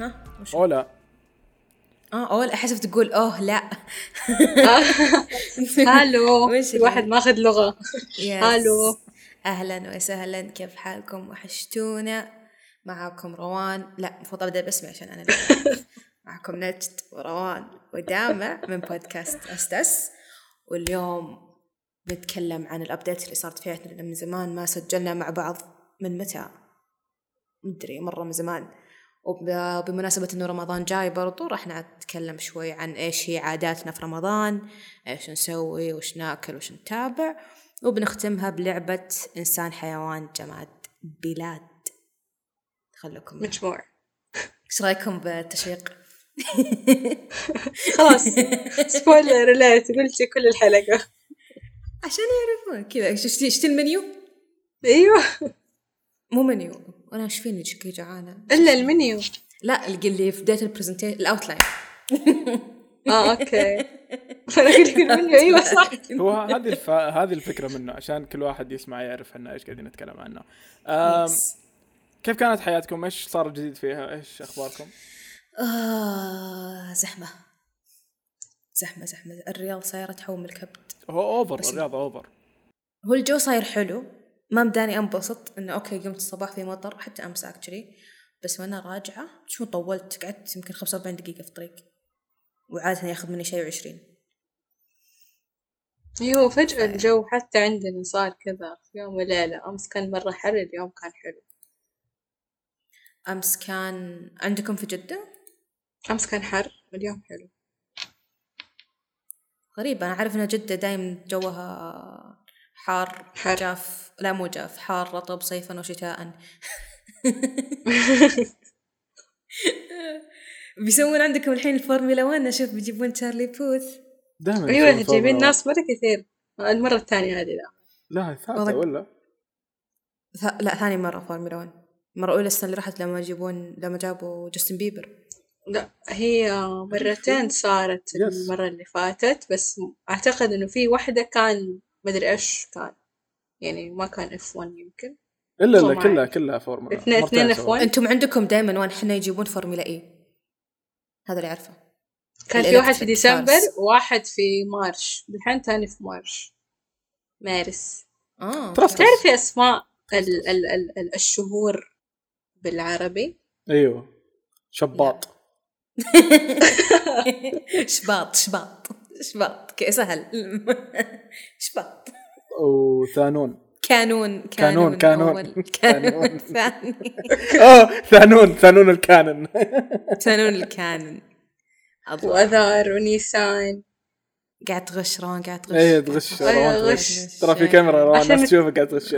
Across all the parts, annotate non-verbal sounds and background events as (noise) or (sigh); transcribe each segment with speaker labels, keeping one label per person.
Speaker 1: ها وش
Speaker 2: أو لا
Speaker 1: اه اول حسبت تقول اوه لا
Speaker 3: هالو
Speaker 1: (laughs) وش اللي-
Speaker 3: الواحد ماخذ لغة
Speaker 1: يس.
Speaker 3: هالو.
Speaker 1: اهلا وسهلا كيف حالكم وحشتونا معاكم روان لا المفروض ابدا باسمي عشان انا اللي- معكم نجد وروان ودامع من بودكاست استس واليوم بنتكلم عن الابديت اللي صارت في حياتنا لأن من زمان ما سجلنا مع بعض من متى مدري مرة من زمان وب- وبمناسبة انه رمضان جاي برضو راح نتكلم شوي عن ايش هي عاداتنا في رمضان ايش نسوي وش ناكل وش نتابع وبنختمها بلعبة انسان حيوان جماد بلاد خلوكم معنا.
Speaker 3: مجموع
Speaker 1: ايش رايكم بالتشويق؟ (laughs)
Speaker 3: خلاص سبويلر ريليت قلتي كل الحلقة
Speaker 1: عشان يعرفون كذا شفتي شفتي المنيو؟
Speaker 3: ايوه
Speaker 1: مو منيو انا ايش فيني شكلي جعانه
Speaker 3: الا المنيو
Speaker 1: لا الق- اللي في بدايه البرزنتيشن الاوتلاين (laughs)
Speaker 3: اه اوكي انا قلت لك المنيو ايوه صح
Speaker 2: هو هذه الف... هذه الفكرة منه عشان كل واحد يسمع يعرف احنا ايش قاعدين نتكلم عنه. أم... كيف كانت حياتكم؟ ايش صار جديد فيها؟ ايش اخباركم؟
Speaker 1: آه زحمة زحمة زحمة الرياض صايرة تحوم الكبد
Speaker 2: هو اوفر
Speaker 1: بس-
Speaker 2: الرياض اوفر.
Speaker 1: هو الجو صاير حلو ما مداني انبسط انه اوكي قمت الصباح في مطر حتى امس اكشلي بس وانا راجعة شو طولت قعدت يمكن 45 دقيقة في الطريق وعادة ياخذ مني شيء وعشرين
Speaker 3: ايوه فجأة الجو حتى عندنا صار كذا في يوم وليلة امس كان مرة حر اليوم كان حلو
Speaker 1: امس كان عندكم في جدة؟
Speaker 3: امس كان حر واليوم حلو
Speaker 1: غريبة انا عارف ان جدة دايم جوها حار
Speaker 3: حر.
Speaker 1: جاف لا مو جاف حار رطب صيفا وشتاء (laughs) بيسوون عندكم الحين الفورمولا 1 اشوف بيجيبون تشارلي بوث
Speaker 2: دائما
Speaker 3: ايوه جايبين ناس مرة كثير المرة الثانية هذه لا
Speaker 2: لا هي ثالثة
Speaker 1: والله-
Speaker 2: ولا؟
Speaker 1: ث- لا ثاني مرة فورمولا 1 مرة أولى السنة اللي راحت لما يجيبون لما جابوا جاستن بيبر
Speaker 3: لا هي مرتين صارت
Speaker 2: Yes.
Speaker 3: المرة اللي فاتت بس أعتقد إنه في واحدة كان مدري إيش كان يعني ما كان اف 1 يمكن
Speaker 2: الا
Speaker 3: والله
Speaker 2: الا
Speaker 3: ما
Speaker 2: كلها
Speaker 3: أعرف.
Speaker 2: كلها فورمولا
Speaker 3: اثنين-
Speaker 2: مرتين
Speaker 3: اثنين
Speaker 2: سوا.
Speaker 3: F1.
Speaker 1: أنتم عندكم دائما وان إحنا يجيبون فورمولا إي هذا اللي أعرفه
Speaker 3: كان في
Speaker 1: الإلكتريك
Speaker 3: واحد في ديسمبر
Speaker 1: كارز.
Speaker 3: وواحد في مارش الحين تاني في مارش مارس
Speaker 1: آه
Speaker 2: ترى-
Speaker 3: تعرفي أسماء ال ال ال ال الشهور بالعربي
Speaker 2: ايوه شباط
Speaker 1: (laughs) شباط شباط شباط ك- سهل (laughs) شباط
Speaker 2: وثانون
Speaker 1: كانون
Speaker 2: كانون-
Speaker 1: كانون
Speaker 2: كانون.
Speaker 1: أول،
Speaker 2: (laughs) كانون.
Speaker 1: كانون (laughs) ثاني
Speaker 2: اه ثانون ثانون الكانن
Speaker 1: كانون الكانون الله
Speaker 3: وأذار ونيسان
Speaker 1: قاعد تغش روان قاعد تغش
Speaker 2: ايه تغش
Speaker 3: أيوه،
Speaker 2: روان
Speaker 3: غش.
Speaker 2: تغش ترى في كاميرا روان
Speaker 3: عشان-
Speaker 2: الناس تشوفك قاعد تغش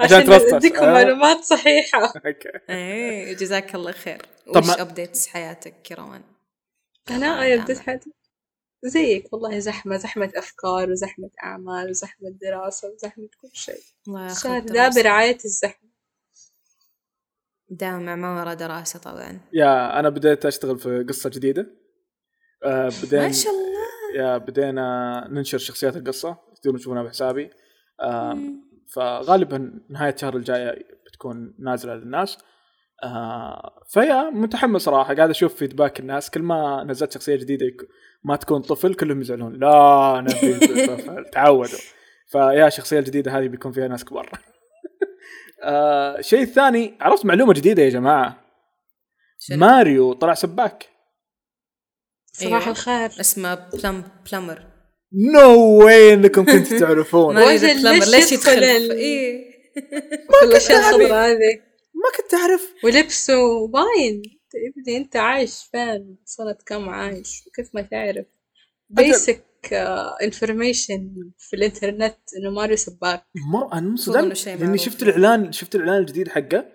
Speaker 3: عشان
Speaker 2: تلطش.
Speaker 3: أديكم
Speaker 2: آه.
Speaker 3: معلومات صحيحة
Speaker 2: اوكي
Speaker 1: ايه جزاك الله خير
Speaker 2: طب
Speaker 1: وش
Speaker 2: ما-
Speaker 1: ابديتس حياتك يا روان؟
Speaker 3: أنا
Speaker 1: كمان
Speaker 3: أنا
Speaker 1: أعمال.
Speaker 3: بديت حياتي زيك والله زحمة زحمة أفكار وزحمة أعمال وزحمة دراسة وزحمة كل شيء
Speaker 1: الله ياخذ
Speaker 3: صار ذا
Speaker 1: آه، دراسة.
Speaker 3: برعاية الزحمة
Speaker 1: دامع ما ورا دراسة طبعا
Speaker 2: يا انا بديت اشتغل في قصه جديده آه
Speaker 1: ما
Speaker 2: بدينا
Speaker 1: شاء الله
Speaker 2: يا بدينا ننشر شخصيات القصه تقدرون تشوفونها بحسابي آه فغالبا نهايه الشهر الجايه بتكون نازله للناس آه فيا متحمس صراحه قاعد اشوف فيدباك الناس كل ما نزلت شخصيه جديده يك- ما تكون طفل كلهم يزعلون لا نبي
Speaker 1: (laughs)
Speaker 2: طفل تعودوا فيا الشخصيه الجديده هذه بيكون فيها ناس كبار (laughs) آه شيء الثاني عرفت معلومه جديده يا جماعه
Speaker 1: شنو؟
Speaker 2: ماريو طلع سباك
Speaker 3: صباح
Speaker 1: أيوة.
Speaker 3: الخير
Speaker 1: اسمه بلم بلمر
Speaker 2: نو واي انكم كنتوا
Speaker 1: (laughs)
Speaker 2: تعرفون
Speaker 1: ماريو ذا
Speaker 3: وجل ليش
Speaker 1: بلمر ليش
Speaker 3: يدخل
Speaker 1: يدخل
Speaker 3: ال-
Speaker 1: ايه
Speaker 3: كل الأشياء الخضراء هذه
Speaker 2: ما كنت اعرف
Speaker 3: ولبسه باين أنت يا ابني أنت عايش فين سنة كم عايش وكيف ما تعرف بيسك انفورميشن في الانترنت انه ماريو سباك
Speaker 2: مر انا
Speaker 1: المفروض إنه
Speaker 2: انصدمت
Speaker 1: شيء
Speaker 2: لاني
Speaker 1: معروف.
Speaker 2: شفت الاعلان شفت الاعلان الجديد حقه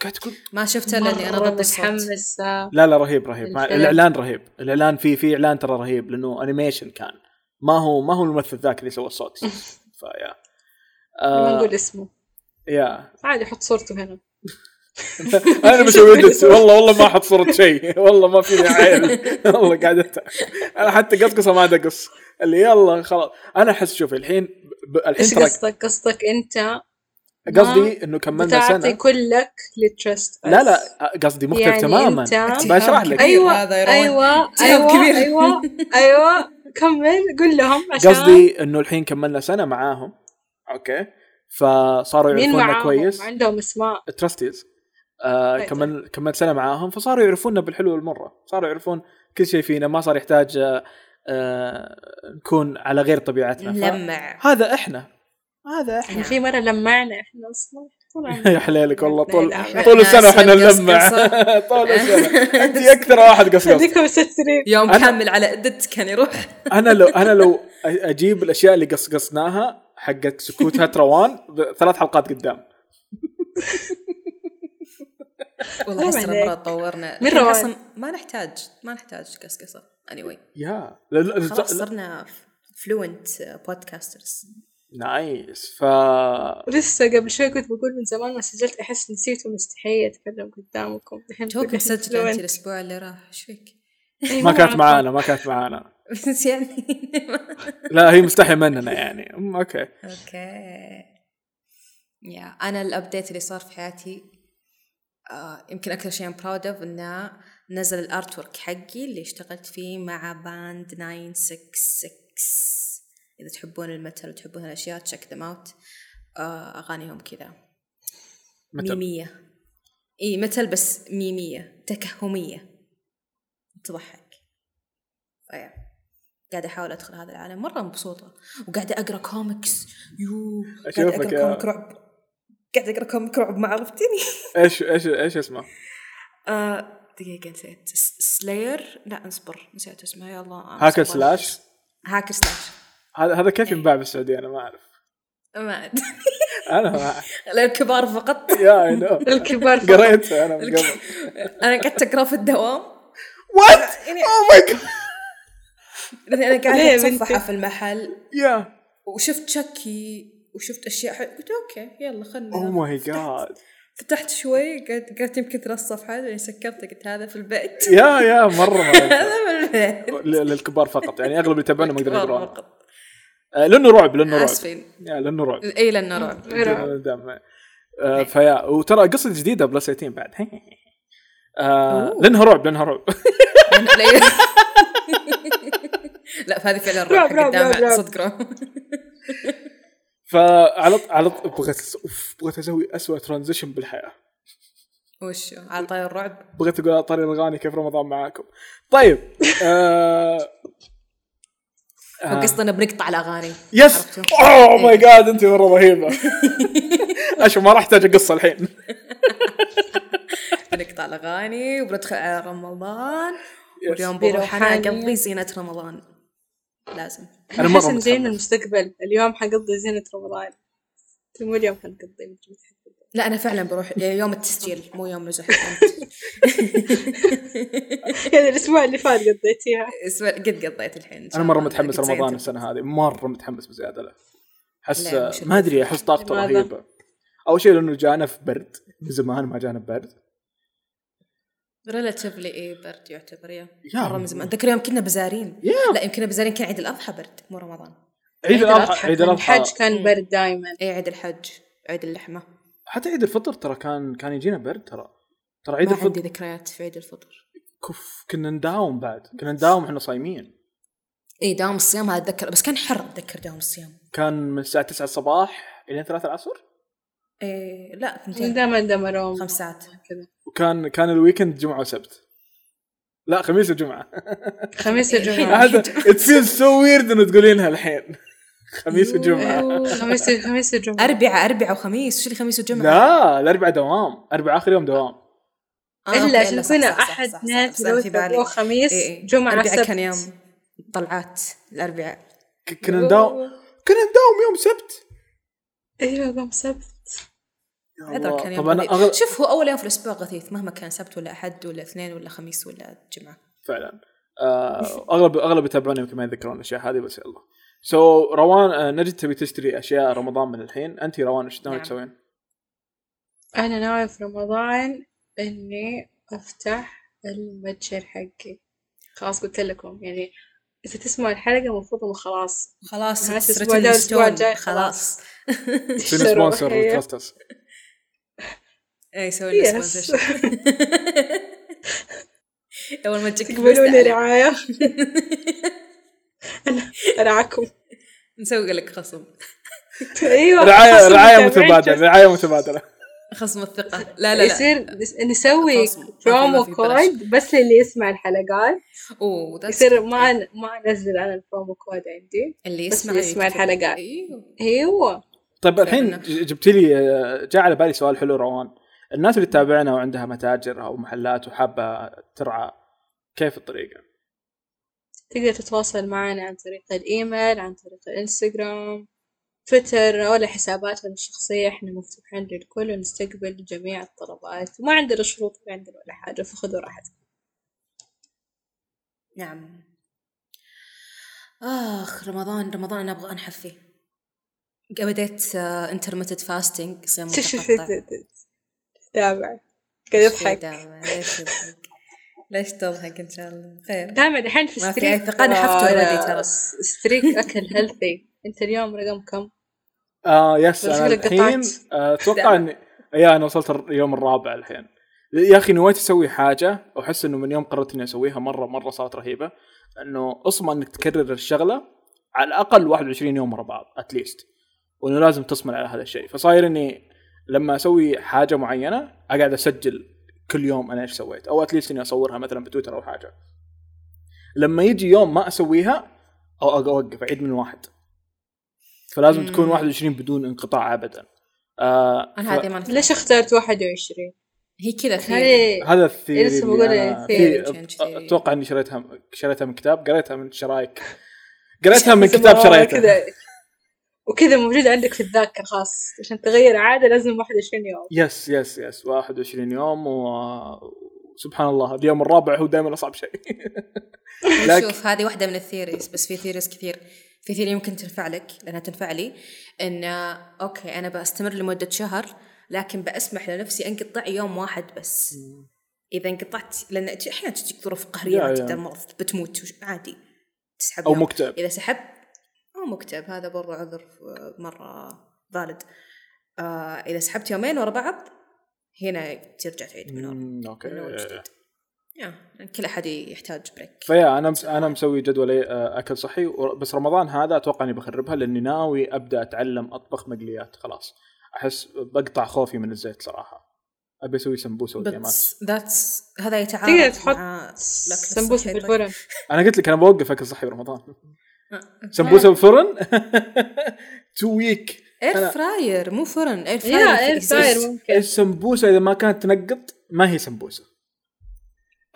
Speaker 2: قاعد تقول
Speaker 1: ما شفته لاني انا
Speaker 3: مرة
Speaker 1: ضد الصوت
Speaker 3: متحمسة
Speaker 2: لا لا رهيب رهيب مع
Speaker 3: الفيلم.
Speaker 2: الاعلان رهيب الاعلان فيه فيه اعلان ترى رهيب لانه انيميشن كان ما هو ما هو الممثل ذاك اللي سوى
Speaker 1: (laughs)
Speaker 2: الصوت فيا
Speaker 3: ما
Speaker 2: آه
Speaker 3: نقول اسمه
Speaker 2: يا
Speaker 3: عادي حط صورته هنا
Speaker 2: انا
Speaker 1: (laughs)
Speaker 2: بسوي دس والله والله ما احط صوره شيء والله ما في عيل (laughs) والله قاعد أت- انا حتى قصقصه ما عاد اقص اللي يلا خلاص انا احس شوف الحين ب- الحين
Speaker 3: ايش
Speaker 2: ترى
Speaker 3: قصدك قصدك انت
Speaker 2: قصدي انه كملنا
Speaker 3: بتاعتي
Speaker 2: سنه
Speaker 3: كلك للتراست
Speaker 2: لا لا قصدي مختلف
Speaker 3: يعني
Speaker 2: تماما
Speaker 3: أنت-
Speaker 2: بشرح لك أيوة.
Speaker 3: ايوه
Speaker 1: أيوة، هذا يرون.
Speaker 3: ايوه
Speaker 1: تعب
Speaker 3: ايوه
Speaker 1: كبير.
Speaker 3: ايوه ايوه كمل قول لهم عشان
Speaker 2: قصدي انه الحين كملنا سنه معاهم اوكي فصاروا
Speaker 3: مين
Speaker 2: يعرفوننا
Speaker 3: معاهم
Speaker 2: كويس
Speaker 3: عندهم اسماء
Speaker 2: الترستيز آه
Speaker 3: طيب.
Speaker 2: كمل كملت سنه معاهم فصاروا يعرفوننا بالحلو والمره صاروا يعرفون كل شيء فينا ما صار يحتاج آه، آه نكون على غير طبيعتنا ف-
Speaker 1: نلمع
Speaker 2: هذا احنا هذا احنا
Speaker 3: (laughs) احنا في مره لمعنا احنا اصلا طول عمرنا.
Speaker 2: (laughs) يا حليلك والله طول
Speaker 3: لا، لا،
Speaker 2: طول
Speaker 1: ناس
Speaker 2: السنه واحنا
Speaker 1: نقص
Speaker 2: نلمع
Speaker 1: قصة.
Speaker 2: (laughs) طول السنه
Speaker 3: (laughs)
Speaker 2: انت اكثر واحد قصقص
Speaker 3: هذيك مستثمرين
Speaker 1: يوم
Speaker 2: أنا-
Speaker 1: كامل على ادت كان يروح
Speaker 2: انا لو انا لو اجيب الاشياء اللي قصقصناها حقت سكوتها تروان ب- ثلاث حلقات قدام
Speaker 1: والله
Speaker 3: ما
Speaker 1: احس
Speaker 3: عليك.
Speaker 1: مره تطورنا
Speaker 3: من
Speaker 1: الحين
Speaker 3: روان.
Speaker 1: اصلا ما نحتاج ما نحتاج قصقصه anyway
Speaker 2: يا لا- لا- لا-
Speaker 1: خلاص صرنا uh, فلوينت
Speaker 3: (laughs)
Speaker 1: بودكاسترز
Speaker 2: نايس ف
Speaker 3: لسه قبل شوي كنت بقول من زمان ما سجلت احس نسيت ومستحية اتكلم قدامكم الحين
Speaker 1: توك
Speaker 3: بقول إحنا
Speaker 1: مسجله انت
Speaker 3: fluent.
Speaker 1: الاسبوع اللي راح ايش فيك؟ (laughs)
Speaker 3: إيه،
Speaker 2: ما كانت
Speaker 3: معكم.
Speaker 2: معانا ما كانت معانا
Speaker 1: بس يعني
Speaker 2: لا هي مستحيه مننا يعني أم، اوكي
Speaker 1: اوكي يا انا الابديت اللي صار في حياتي آه يمكن اكثر شيء ام براود اوف انه نزل الارت ورك حقي اللي اشتغلت فيه مع باند 966 اذا تحبون المتل وتحبون هالاشياء تشيك ذم اوت اغانيهم آه، كذا
Speaker 2: متل.
Speaker 1: ميمية اي متل بس ميمية تكهمية تضحك طيب قاعدة أحاول أدخل هذا العالم مرة مبسوطة وقاعدة أقرأ كوميكس يو قاعدة
Speaker 2: أشوفك
Speaker 1: أقرأ
Speaker 2: يا-
Speaker 1: كوميك رعب قاعدة أقرأ كوميك رعب ما عرفتني
Speaker 2: ايش ايش ايش اسمه؟
Speaker 1: آه، دقيقة نسيت س- سلاير لا اصبر نسيت اسمها يلا
Speaker 2: هاكر سلاش
Speaker 1: هاكر سلاش
Speaker 2: هذا هذا كيف ينباع بالسعوديه انا ما اعرف
Speaker 1: ما أدري. (laughs)
Speaker 2: انا ما أعرف.
Speaker 1: للكبار فقط
Speaker 2: يا اي نو (laughs)
Speaker 3: الكبار فقط.
Speaker 2: قريتها انا من
Speaker 1: الك-
Speaker 2: قبل
Speaker 1: أنا قعدت أقرأ في الدوام
Speaker 2: وات
Speaker 1: يعني
Speaker 2: او ماي جاد
Speaker 1: لأني أنا
Speaker 3: ليه يا
Speaker 1: قاعدة
Speaker 3: بنتي؟
Speaker 1: أتصفح في المحل
Speaker 2: يا
Speaker 1: وشفت شكي وشفت اشياء حلوه قلت اوكي يلا خلنا
Speaker 2: او ماي جاد
Speaker 1: فتحت شوي قعدت قعدت يمكن ثلاث صفحات بعدين سكرت يعني قلت هذا في البيت
Speaker 2: يا يا مره مره
Speaker 1: (laughs) هذا في البيت
Speaker 2: ل- للكبار فقط يعني اغلب اللي يتابعونا ما يقدرون يقرون
Speaker 1: فقط.
Speaker 2: آه، لانه رعب لانه رعب
Speaker 1: اسفين
Speaker 2: يا لانه رعب
Speaker 1: اي لانه
Speaker 3: (laughs)
Speaker 1: رعب
Speaker 3: رعب.
Speaker 2: دم. آه، فيا وترى قصه جديده بلس 18 بعد (laughs) آه،
Speaker 1: أوه.
Speaker 2: لانها رعب لانها رعب (laughs)
Speaker 1: لأن- لأن- (laughs) لا فهذه فعلا رعب
Speaker 3: رعب،
Speaker 1: حق
Speaker 3: رعب، رعب،
Speaker 1: الدامع
Speaker 3: رعب.
Speaker 1: صدق (laughs) رعب
Speaker 2: فعلى على بغيت أس- أوف، بغيت اسوي اسوء ترانزيشن بالحياه
Speaker 1: وشو على طاير الرعب
Speaker 2: بغيت اقول على طاري الاغاني كيف رمضان معاكم طيب آه
Speaker 3: آه.
Speaker 1: هو قصدنا بنقطع الاغاني
Speaker 2: يس
Speaker 1: عرفتوا؟
Speaker 2: اوه ماي جاد انت مره رهيبه (laughs) اشوف ما راح احتاج القصه الحين
Speaker 1: بنقطع الاغاني وبندخل على رمضان
Speaker 2: يس.
Speaker 1: واليوم بروح انا
Speaker 3: بروحانية.
Speaker 1: اقضي زينه رمضان لازم
Speaker 2: أنا
Speaker 3: انا (laughs)
Speaker 2: مرة
Speaker 3: مرة إن جاي من
Speaker 2: متحمس.
Speaker 3: المستقبل اليوم حقضي زينة رمضان طيب مو اليوم حنقضي مدري متى حنقضي.
Speaker 1: لا انا فعلا بروح يوم التسجيل مو يوم نزح
Speaker 3: (laughs) يعني الاسبوع اللي فات قضيتيها
Speaker 1: اسمع قد قضيت الحين إن شاء
Speaker 2: انا مره
Speaker 1: الله.
Speaker 2: متحمس
Speaker 1: قد
Speaker 2: رمضان
Speaker 1: زينت.
Speaker 2: السنه هذه مره متحمس بزياده له احس
Speaker 1: لا، مش
Speaker 2: ما ادري احس طاقته
Speaker 3: لماذا؟
Speaker 2: رهيبه اول شيء لانه جانا في برد من زمان ما جانا برد
Speaker 1: ريلاتيفلي اي إيه، برد يعتبر يا
Speaker 2: يا
Speaker 1: مره من زمان اتذكر يوم كنا بزارين
Speaker 2: يا.
Speaker 1: لا يوم كنا بزارين كان عيد الاضحى برد مو رمضان
Speaker 2: عيد الاضحى
Speaker 3: الأضحى
Speaker 2: عيد
Speaker 3: كان
Speaker 2: الاضحى
Speaker 3: الحج كان برد دائما
Speaker 1: اي إيه، عيد الحج عيد اللحمه
Speaker 2: حتى عيد الفطر ترى كان كان يجينا برد ترى ترى عيد
Speaker 1: ما عندي
Speaker 2: الفطر
Speaker 1: ذكريات في عيد الفطر
Speaker 2: كف كنا نداوم بعد كنا نداوم احنا صايمين
Speaker 1: اي دوام إيه، الصيام هذا اتذكر بس كان حر اتذكر دوام الصيام
Speaker 2: كان من الساعه 9 الصباح الى 3 العصر
Speaker 1: اي إيه، لا ثنتين
Speaker 3: دائما دمرهم
Speaker 1: خمس ساعات
Speaker 3: كذا
Speaker 2: وكان كان الويكند جمعه وسبت لا خميس
Speaker 1: (laughs)
Speaker 2: وجمعه
Speaker 3: خميس وجمعة
Speaker 2: هذا ات فيل سو ويرد انه تقولينها الحين خميس
Speaker 1: يو.
Speaker 2: وجمعه
Speaker 3: خميس خميس وجمعة
Speaker 1: اربعاء اربعاء وخميس شو اللي خميس وجمعه؟
Speaker 2: لا الاربعاء دوام اربعاء اخر يوم دوام
Speaker 1: آه، أوكي،
Speaker 3: الا عشان
Speaker 1: صح،
Speaker 3: كنا
Speaker 1: صح، صح، صح،
Speaker 3: احد
Speaker 1: صح،
Speaker 3: ناس
Speaker 1: بس أنا في بالي.
Speaker 3: لو خميس
Speaker 1: إيه، إيه.
Speaker 3: جمعة
Speaker 1: الأربعاء
Speaker 3: سبت
Speaker 1: كان يوم طلعات الأربعاء
Speaker 2: ك- كنا نداوم كنا نداوم يوم سبت
Speaker 3: ايوه يوم سبت
Speaker 2: يا
Speaker 1: هذا كان
Speaker 2: الله.
Speaker 1: يوم
Speaker 2: طب انا
Speaker 1: غثيث
Speaker 2: أغل...
Speaker 1: شوف هو أول يوم في الأسبوع غثيث مهما كان سبت ولا أحد ولا اثنين ولا خميس ولا جمعة
Speaker 2: فعلا آه، اغلب اغلب يتابعونا يمكن ما يتذكرون الاشياء هذه بس يلا سو so, روان آه، نجد تبي تشتري اشياء رمضان من الحين انت روان ايش ناوي
Speaker 1: نعم. (laughs)
Speaker 2: تسوين؟
Speaker 3: انا ناوية في رمضان اني افتح المتجر حقي خلاص قلت لكم يعني إذا تسمعوا الحلقة المفروض إنه (laughs) خلاص
Speaker 1: خلاص
Speaker 3: معناته
Speaker 1: it's written
Speaker 3: الأسبوع ده
Speaker 1: in
Speaker 3: والأسبوع
Speaker 1: stone.
Speaker 3: الجاي
Speaker 1: خلاص
Speaker 2: فينا
Speaker 3: شروحية.
Speaker 2: سبونسر تراست
Speaker 1: (laughs)
Speaker 2: اس
Speaker 1: اي سوي إيه، لنا
Speaker 3: Yes.
Speaker 1: سبونسر
Speaker 3: (laughs)
Speaker 1: اول ما تجيك فلوس
Speaker 3: تقبلون
Speaker 1: تعال.
Speaker 3: (laughs) رعاية أنا أرعاكم
Speaker 1: نسوي لك خصم
Speaker 3: أيوه
Speaker 2: رعايه
Speaker 3: خصم
Speaker 2: رعايه
Speaker 1: (laughs)
Speaker 3: متابعين
Speaker 2: متبادله رعايه متبادله
Speaker 1: خصم الثقه لا لا لا
Speaker 3: يصير بس- نسوي
Speaker 1: خصم.
Speaker 3: برومو
Speaker 1: ما في بلاش.
Speaker 3: كود بس للي يسمع الحلقات
Speaker 1: اوه that's
Speaker 3: يصير
Speaker 1: good.
Speaker 3: ما ما انزل انا البرومو كود عندي
Speaker 1: اللي
Speaker 3: بس
Speaker 1: يسمع
Speaker 3: اللي يسمع
Speaker 1: يكتب.
Speaker 3: الحلقات.
Speaker 1: ايوه
Speaker 3: ايوه
Speaker 2: طيب
Speaker 1: فعلا.
Speaker 2: الحين ج- جبت لي آه، جاء على بالي سؤال حلو روان الناس اللي تتابعنا وعندها متاجر او محلات وحابه ترعى كيف الطريقه؟
Speaker 3: تقدر تتواصل معنا عن طريق الايميل عن طريق الانستغرام تويتر ولا حساباتنا الشخصية احنا مفتوحين للكل ونستقبل جميع الطلبات وما عندنا شروط ما عندنا ولا حاجة فخذوا
Speaker 1: (laughs)
Speaker 3: راحتكم
Speaker 1: نعم اخ رمضان رمضان انا ابغى انحف فيه آه، بديت انترمتد فاستنج صيام متقطع
Speaker 3: (laughs) تتابع قاعد يضحك
Speaker 1: دعوة، ليش تضحك ليش تضحك ان شاء الله خير
Speaker 3: دائما الحين في آه،
Speaker 1: ما في
Speaker 3: ستريك
Speaker 1: أي ثقة، أنا حفته already ترى.
Speaker 3: ستريك اكل هيلثي انت اليوم رقم كم؟
Speaker 2: اه يس
Speaker 3: بس
Speaker 2: انا
Speaker 3: يقولك
Speaker 2: الحين
Speaker 3: قطعت.
Speaker 2: آه، اتوقع
Speaker 1: دعوة.
Speaker 2: اني يا انا وصلت اليوم الرابع الحين يا اخي نويت اسوي حاجه واحس انه من يوم قررت اني اسويها مره مره صارت رهيبه انه اصمى انك تكرر الشغله على الاقل 21 يوم ورا بعض اتليست وانه لازم تصمل على هذا الشيء فصاير اني لما اسوي حاجه معينه اقعد اسجل كل يوم انا ايش سويت او اتليست اني اصورها مثلا بتويتر او حاجه لما يجي يوم ما اسويها او اوقف اعيد من واحد فلازم
Speaker 1: مم.
Speaker 2: تكون 21 بدون انقطاع ابدا آه ف-
Speaker 1: انا هذه ما نفهم.
Speaker 3: ليش اخترت 21؟
Speaker 1: هي كذا في
Speaker 3: هذه
Speaker 2: هذا الثيري
Speaker 3: لسه
Speaker 2: اللي
Speaker 3: بقول
Speaker 2: أنا-
Speaker 3: الثيري
Speaker 2: في-
Speaker 1: change theory.
Speaker 2: اتوقع اني شريتها شريتها من كتاب قريتها من شرايك
Speaker 3: (laughs)
Speaker 2: قريتها من كتاب شريته
Speaker 3: كذا وكذا موجودة عندك في الذاكرة خلاص عشان تغير عادة لازم 21 يوم
Speaker 2: يس يس يس 21 يوم وسبحان الله اليوم الرابع هو دائما اصعب شيء لك-
Speaker 1: شوف هذه واحدة من الثيريز بس في ثيريز كثير في ثيري يمكن تنفع لك لأنها تنفع لي إن آه، أوكي أنا بستمر لمدة شهر لكن بأسمح لنفسي أنقطع يوم واحد بس إذا انقطعت لأن أت- أحيانا تجيك ظروف
Speaker 2: يا- يا.
Speaker 1: قهرية جدا مرض بتموت وش- عادي تسحب
Speaker 2: او
Speaker 1: يوم.
Speaker 2: مكتئب
Speaker 1: إذا سحب أو مكتئب هذا برضو عذر آه، مرة valid آه إذا سحبت يومين ورا بعض هنا ترجع تعيد من أول-
Speaker 2: مم،
Speaker 1: من أول
Speaker 2: اوكي
Speaker 1: جديد يا يعني كل أحد يحتاج بريك
Speaker 2: فيا انا مس- انا مسوي جدول آه، اكل صحي ور- بس رمضان هذا اتوقع اني بخربها لاني ناوي ابدا اتعلم اطبخ مقليات خلاص احس بقطع خوفي من الزيت صراحه ابي اسوي سمبوسه وجيمات
Speaker 1: بس ذاتس هذا يتعارض
Speaker 3: تقدر تحط
Speaker 1: مع الأكل
Speaker 3: سمبوسة
Speaker 1: الصحي.
Speaker 3: بالفرن
Speaker 2: انا قلت لك انا بوقف اكل صحي برمضان
Speaker 1: آه.
Speaker 2: سمبوسه (laughs) بالفرن تو ويك
Speaker 1: اير
Speaker 2: أنا-
Speaker 1: فراير مو فرن اير
Speaker 3: يا
Speaker 1: فراير
Speaker 3: اير
Speaker 1: exist.
Speaker 3: فراير ممكن
Speaker 2: السمبوسه اذا ما كانت تنقط ما هي سمبوسه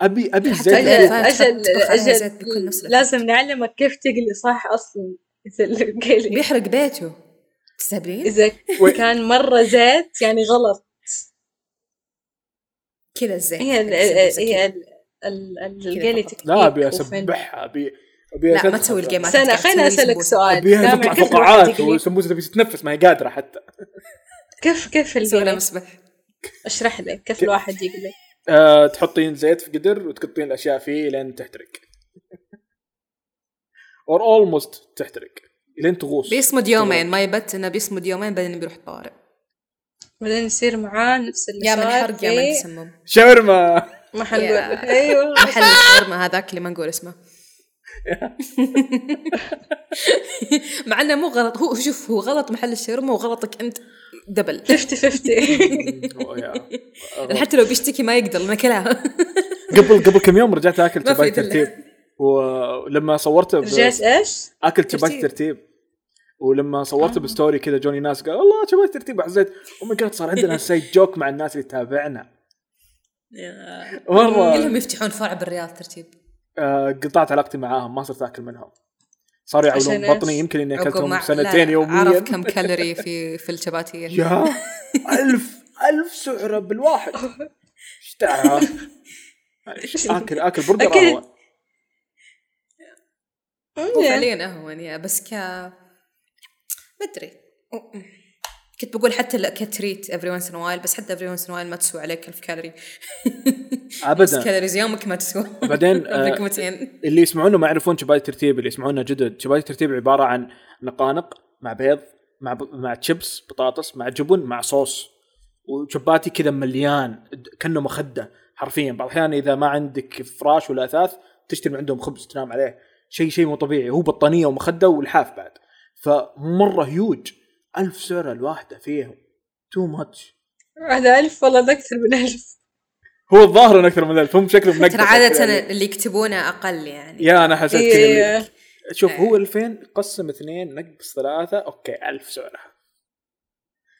Speaker 2: ابي ابي
Speaker 1: حتى
Speaker 2: الزيت
Speaker 1: إذا
Speaker 3: اجل
Speaker 1: فراير
Speaker 3: اجل
Speaker 1: تحط- تحط عليها
Speaker 2: يعني
Speaker 3: اجل
Speaker 1: زيت بيكون نفس الإفكت.
Speaker 3: لازم نعلمك كيف تقلي صح اصلا إذا (laughs) القلي
Speaker 1: بيحرق بيته تستهبلين
Speaker 3: اذا
Speaker 2: وي-
Speaker 3: كان مرة زيت يعني غلط
Speaker 1: كذا الزيت
Speaker 3: هي ال-
Speaker 1: السمبوسة
Speaker 3: ال- هي
Speaker 1: كذا.
Speaker 3: ال- ال- القلي
Speaker 1: فقط.
Speaker 3: تكتيك
Speaker 2: لا ابي
Speaker 3: وفن.
Speaker 2: اسبحها ابي ابي
Speaker 1: لا ما
Speaker 2: أسدخل.
Speaker 1: تسوي الجيمات
Speaker 3: استنى
Speaker 1: أنت قاعد
Speaker 3: خليني
Speaker 1: تسوي
Speaker 3: اسالك
Speaker 1: سمبوسة.
Speaker 3: سؤال
Speaker 2: ابيها
Speaker 3: دائما
Speaker 2: تطلع
Speaker 3: كيف الواحد
Speaker 2: فقاعات
Speaker 3: يقلي؟
Speaker 2: والسمبوسه تبي تتنفس ما هي قادره حتى
Speaker 3: كيف كيف
Speaker 1: سوي لها
Speaker 3: القلي
Speaker 1: مصبح
Speaker 3: اشرح لي كيف
Speaker 2: كيف-
Speaker 3: الواحد يقلي
Speaker 2: أه تحطين زيت في قدر وتقطين الاشياء فيه لين تحترق اور اولموست تحترق لين تغوص
Speaker 1: بيصمد يومين ما يبت انه بيصمد يومين بعدين بيروح طوارئ
Speaker 3: بعدين يصير معاه نفس اللي
Speaker 1: يا من
Speaker 3: صار
Speaker 1: حرق يا
Speaker 3: في-
Speaker 1: من تسمم (laughs)
Speaker 2: شاورما
Speaker 3: ما حنقول
Speaker 1: يا-
Speaker 3: ايوه
Speaker 1: محل الشاورما هذاك اللي ما نقول اسمه (laughs) مع انه مو غلط هو شوف هو غلط محل الشاورما وغلطك انت دبل
Speaker 3: 50 50
Speaker 2: أوه، يا.
Speaker 1: لأن حتى لو بيشتكي ما يقدر لانه كلها
Speaker 2: قبل قبل كم يوم رجعت اكل
Speaker 1: ما في
Speaker 2: تباي
Speaker 1: إلا.
Speaker 2: ترتيب ولما صورته ب-
Speaker 3: رجعت ايش؟
Speaker 2: اكل تباي
Speaker 1: ترتيب.
Speaker 2: ترتيب ولما صورته
Speaker 1: آه.
Speaker 2: بستوري كذا جوني ناس قال الله تباي ترتيب حسيت او ماي جاد "Oh صار
Speaker 1: (laughs)
Speaker 2: عندنا سايد جوك مع الناس اللي تتابعنا مره
Speaker 1: (laughs) كلهم يفتحون فرع بالرياض ترتيب
Speaker 2: آه، قطعت علاقتي معاهم ما صرت اكل منهم صاروا
Speaker 3: عشان
Speaker 2: يعولون
Speaker 3: إيش؟
Speaker 2: بطني يمكن اني
Speaker 1: عقب
Speaker 2: اكلتهم
Speaker 1: ما-
Speaker 2: يعني سنتين
Speaker 1: لا،
Speaker 2: يوميا
Speaker 1: عرف كم كالوري في في الشباتيه
Speaker 2: (laughs)
Speaker 1: (laughs)
Speaker 2: يا ألف ألف سعرة بالواحد ايش دعوة؟
Speaker 1: (laughs)
Speaker 2: اكل اكل برجر
Speaker 3: أكل.
Speaker 2: اهون
Speaker 3: إيه.
Speaker 1: يعني، هو فعليا اهون يا بس ك مدري كنت بقول حتى لا كتريت افري وانس ان وايل بس حتى افري وانس ان وايل ما تسوى عليك 1000 كالوري بس
Speaker 2: ابدا
Speaker 1: كالوريز يومك ما تسوى (laughs)
Speaker 2: بعدين، آه،
Speaker 1: عمرك 200
Speaker 2: اللي يسمعونا ما يعرفون شبادي ترتيب اللي يسمعونا جدد شبادي ترتيب عباره عن نقانق مع بيض مع ب... مع تشيبس بطاطس مع جبن مع صوص وشباتي كذا مليان د- كانه مخده حرفيا بعض الاحيان اذا ما عندك فراش ولا اثاث تشتري من عندهم خبز تنام عليه شيء شيء مو طبيعي هو بطانيه ومخده ولحاف بعد فمره هيوج ألف سعر الواحده فيهم تو ماتش
Speaker 3: هذا ألف والله ده أكثر من ألف
Speaker 2: هو الظاهر انه اكثر من الف هم شكلهم نقص
Speaker 1: ترى عادة اللي يكتبونه اقل يعني
Speaker 2: يا انا حسيت كذا اللي-
Speaker 3: إيه.
Speaker 2: شوف هو 2000 قسم اثنين نقص ثلاثة اوكي 1000 سعرها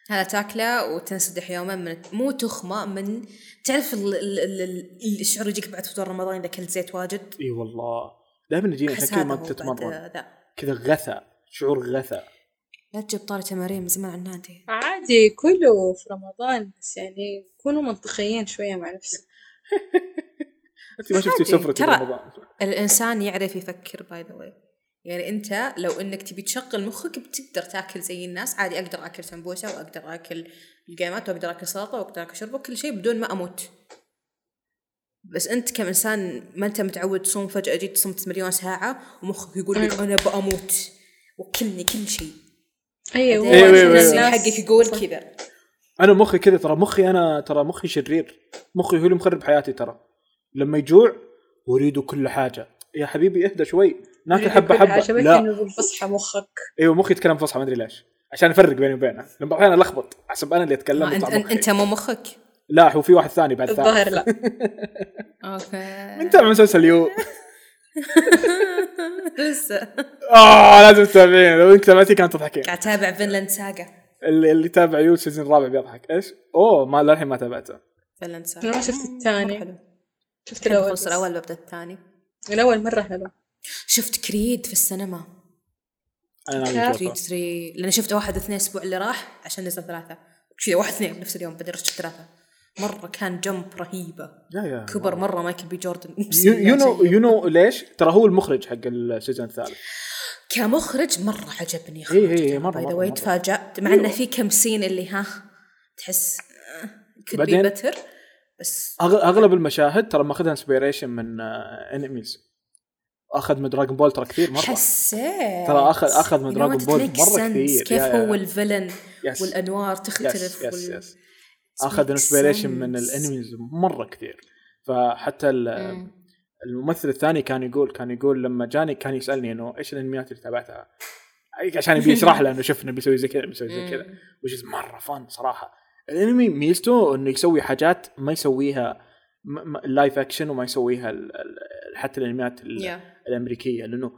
Speaker 1: هذا تاكله وتنسدح يوما من مو تخمه من تعرف ال- ال- ال- الشعور يجيك بعد فطور رمضان اذا اكلت زيت واجد
Speaker 2: اي والله دائما يجيني عشان
Speaker 1: احس
Speaker 2: كذا
Speaker 1: هذا
Speaker 2: إيه، ما
Speaker 1: هو بعد آه،
Speaker 2: تتمرن
Speaker 1: ذا
Speaker 2: كذا غثى شعور غثى
Speaker 1: لا تجيب طاري تمارين من زمان على النادي
Speaker 3: عادي كله في رمضان بس يعني كونوا منطقيين شوية مع نفسكم
Speaker 2: انت ما شفتي
Speaker 1: عادي،
Speaker 2: سفرتي
Speaker 1: ترى-
Speaker 2: برمضان
Speaker 1: الانسان يعرف يفكر باي ذا واي يعني انت لو انك تبي تشغل مخك بتقدر تاكل زي الناس عادي اقدر اكل سمبوسه واقدر اكل القيمات واقدر اكل سلطه واقدر اكل شرب وكل شيء بدون ما اموت بس انت كانسان ما انت متعود تصوم فجاه جيت صمت مليون ساعه ومخك يقول لك انا باموت وكلني كل شيء
Speaker 3: أيوة
Speaker 2: إيه، إيه، إيه.
Speaker 1: بعدين
Speaker 3: الناس-
Speaker 1: حقك يقول كذا
Speaker 2: انا مخي كذا ترى مخي انا ترى مخي شرير مخي هو اللي مخرب حياتي ترى لما يجوع اريد كل حاجة يا حبيبي اهدى شوي ناكل حبة
Speaker 3: كل
Speaker 2: حبة
Speaker 3: عجبتني
Speaker 2: لا
Speaker 3: إنه بالفصحى مخك
Speaker 2: ايوه مخي يتكلم فصحى ما ادري ليش عشان افرق بيني وبينه لما بعض الاحيان الخبط حسب انا اللي اتكلم
Speaker 1: ما انت
Speaker 2: ويطلع مخي.
Speaker 1: انت مو مخك
Speaker 2: لا هو في واحد ثاني بعد ثاني
Speaker 3: الظاهر لا
Speaker 1: اوكي
Speaker 2: انت مع مسلسل يو
Speaker 1: (laughs) لسه
Speaker 2: اه لازم تتابعين لو انت تابعتي كانت تضحكين
Speaker 1: قاعد اتابع فينلاند ساقا
Speaker 2: اللي, اللي تابع يو السيزون الرابع بيضحك ايش؟ اوه ما للحين ما تابعته
Speaker 1: فينلاند ساقا
Speaker 3: أنا ما شفت الثاني.
Speaker 1: مرة حلو.
Speaker 3: شفت
Speaker 1: تحب
Speaker 3: الأول
Speaker 1: أخلص
Speaker 3: بس.
Speaker 1: الأول ببدأ الثاني
Speaker 3: الأول مرة حلو
Speaker 1: شفت كريد في السينما
Speaker 2: انا
Speaker 3: كيف؟
Speaker 2: ناوي
Speaker 1: كريد 3 لأن شفت واحد اثنين الأسبوع اللي راح عشان نزل ثلاثة كذا واحد اثنين بنفس اليوم بعدين رحت شفت ثلاثة مرة كان جنب رهيبة
Speaker 2: يا يا
Speaker 1: كبر مرة مايكل بي جوردن
Speaker 2: يو نو يو نو ليش؟ ترى هو المخرج حق السيزون الثالث
Speaker 1: كمخرج مرة عجبني
Speaker 2: إي- إي- إي، إيه، مرة-
Speaker 1: باي
Speaker 2: مرة-
Speaker 1: ذا
Speaker 2: مرة.
Speaker 1: واي تفاجأت مع انه في كم سين اللي ها تحس آه، كل بي
Speaker 2: بعدين-
Speaker 1: بتر بس
Speaker 2: أغ- اغلب المشاهد ترى ماخذها انسبيريشن من انميز اخذ من دراجون بول ترى كثير مره
Speaker 1: حسيت
Speaker 2: ترى أخذ- أخذ من
Speaker 1: You know
Speaker 2: دراغون
Speaker 1: what? It
Speaker 2: بول
Speaker 1: makes
Speaker 2: مرة
Speaker 1: sense.
Speaker 2: كثير.
Speaker 1: كيف
Speaker 2: يا- يا-
Speaker 1: هو الفيلن
Speaker 2: Yes.
Speaker 1: والانوار تختلف
Speaker 2: يس يس
Speaker 1: وال-
Speaker 2: يس اخذ
Speaker 1: makes
Speaker 2: انسبيريشن من
Speaker 1: sense.
Speaker 2: الانميز مره كثير فحتى ال-
Speaker 1: مم.
Speaker 2: الممثل الثاني كان يقول كان يقول لما جاني كان يسالني انه ايش الانميات اللي تابعتها؟ عشان يبي يشرح له انه شفنا بيسوي زي كذا بيسوي زي كذا وش مره فان صراحه الانمي ميزته انه يسوي حاجات ما يسويها م- م- اللايف اكشن وما يسويها ال- ال- حتى الانميات ال-
Speaker 1: Yeah.
Speaker 2: الامريكيه لانه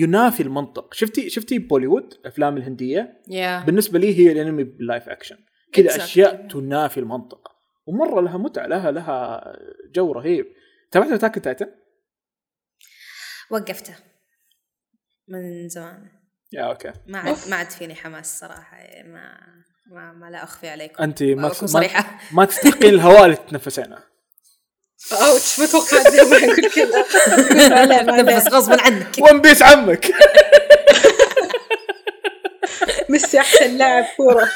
Speaker 2: ينافي المنطق شفتي شفتي بوليوود الافلام الهنديه
Speaker 1: يا
Speaker 2: بالنسبه لي هي الانمي باللايف اكشن كذا
Speaker 1: Exactly.
Speaker 2: اشياء تنافي المنطق ومره لها متعه لها لها جو رهيب تابعت اتاك تايتن؟
Speaker 1: وقفته من زمان
Speaker 2: يا اوكي
Speaker 1: ما عاد ما عاد فيني حماس صراحه يعني ما ما, ما لا اخفي عليكم
Speaker 2: انت ما
Speaker 1: اكون
Speaker 2: ما,
Speaker 1: صريحه
Speaker 2: (laughs) ما تستحقين الهواء اللي
Speaker 1: (laughs)
Speaker 2: تتنفسينه
Speaker 3: أوتش ما توقعت زي ما أقول كذا
Speaker 2: (laughs)
Speaker 3: لا، ما
Speaker 1: (laughs)
Speaker 3: لا.
Speaker 1: بس غصبا عنك
Speaker 2: ون بيس عمك (laughs)
Speaker 3: ميسي أحسن لاعب كورة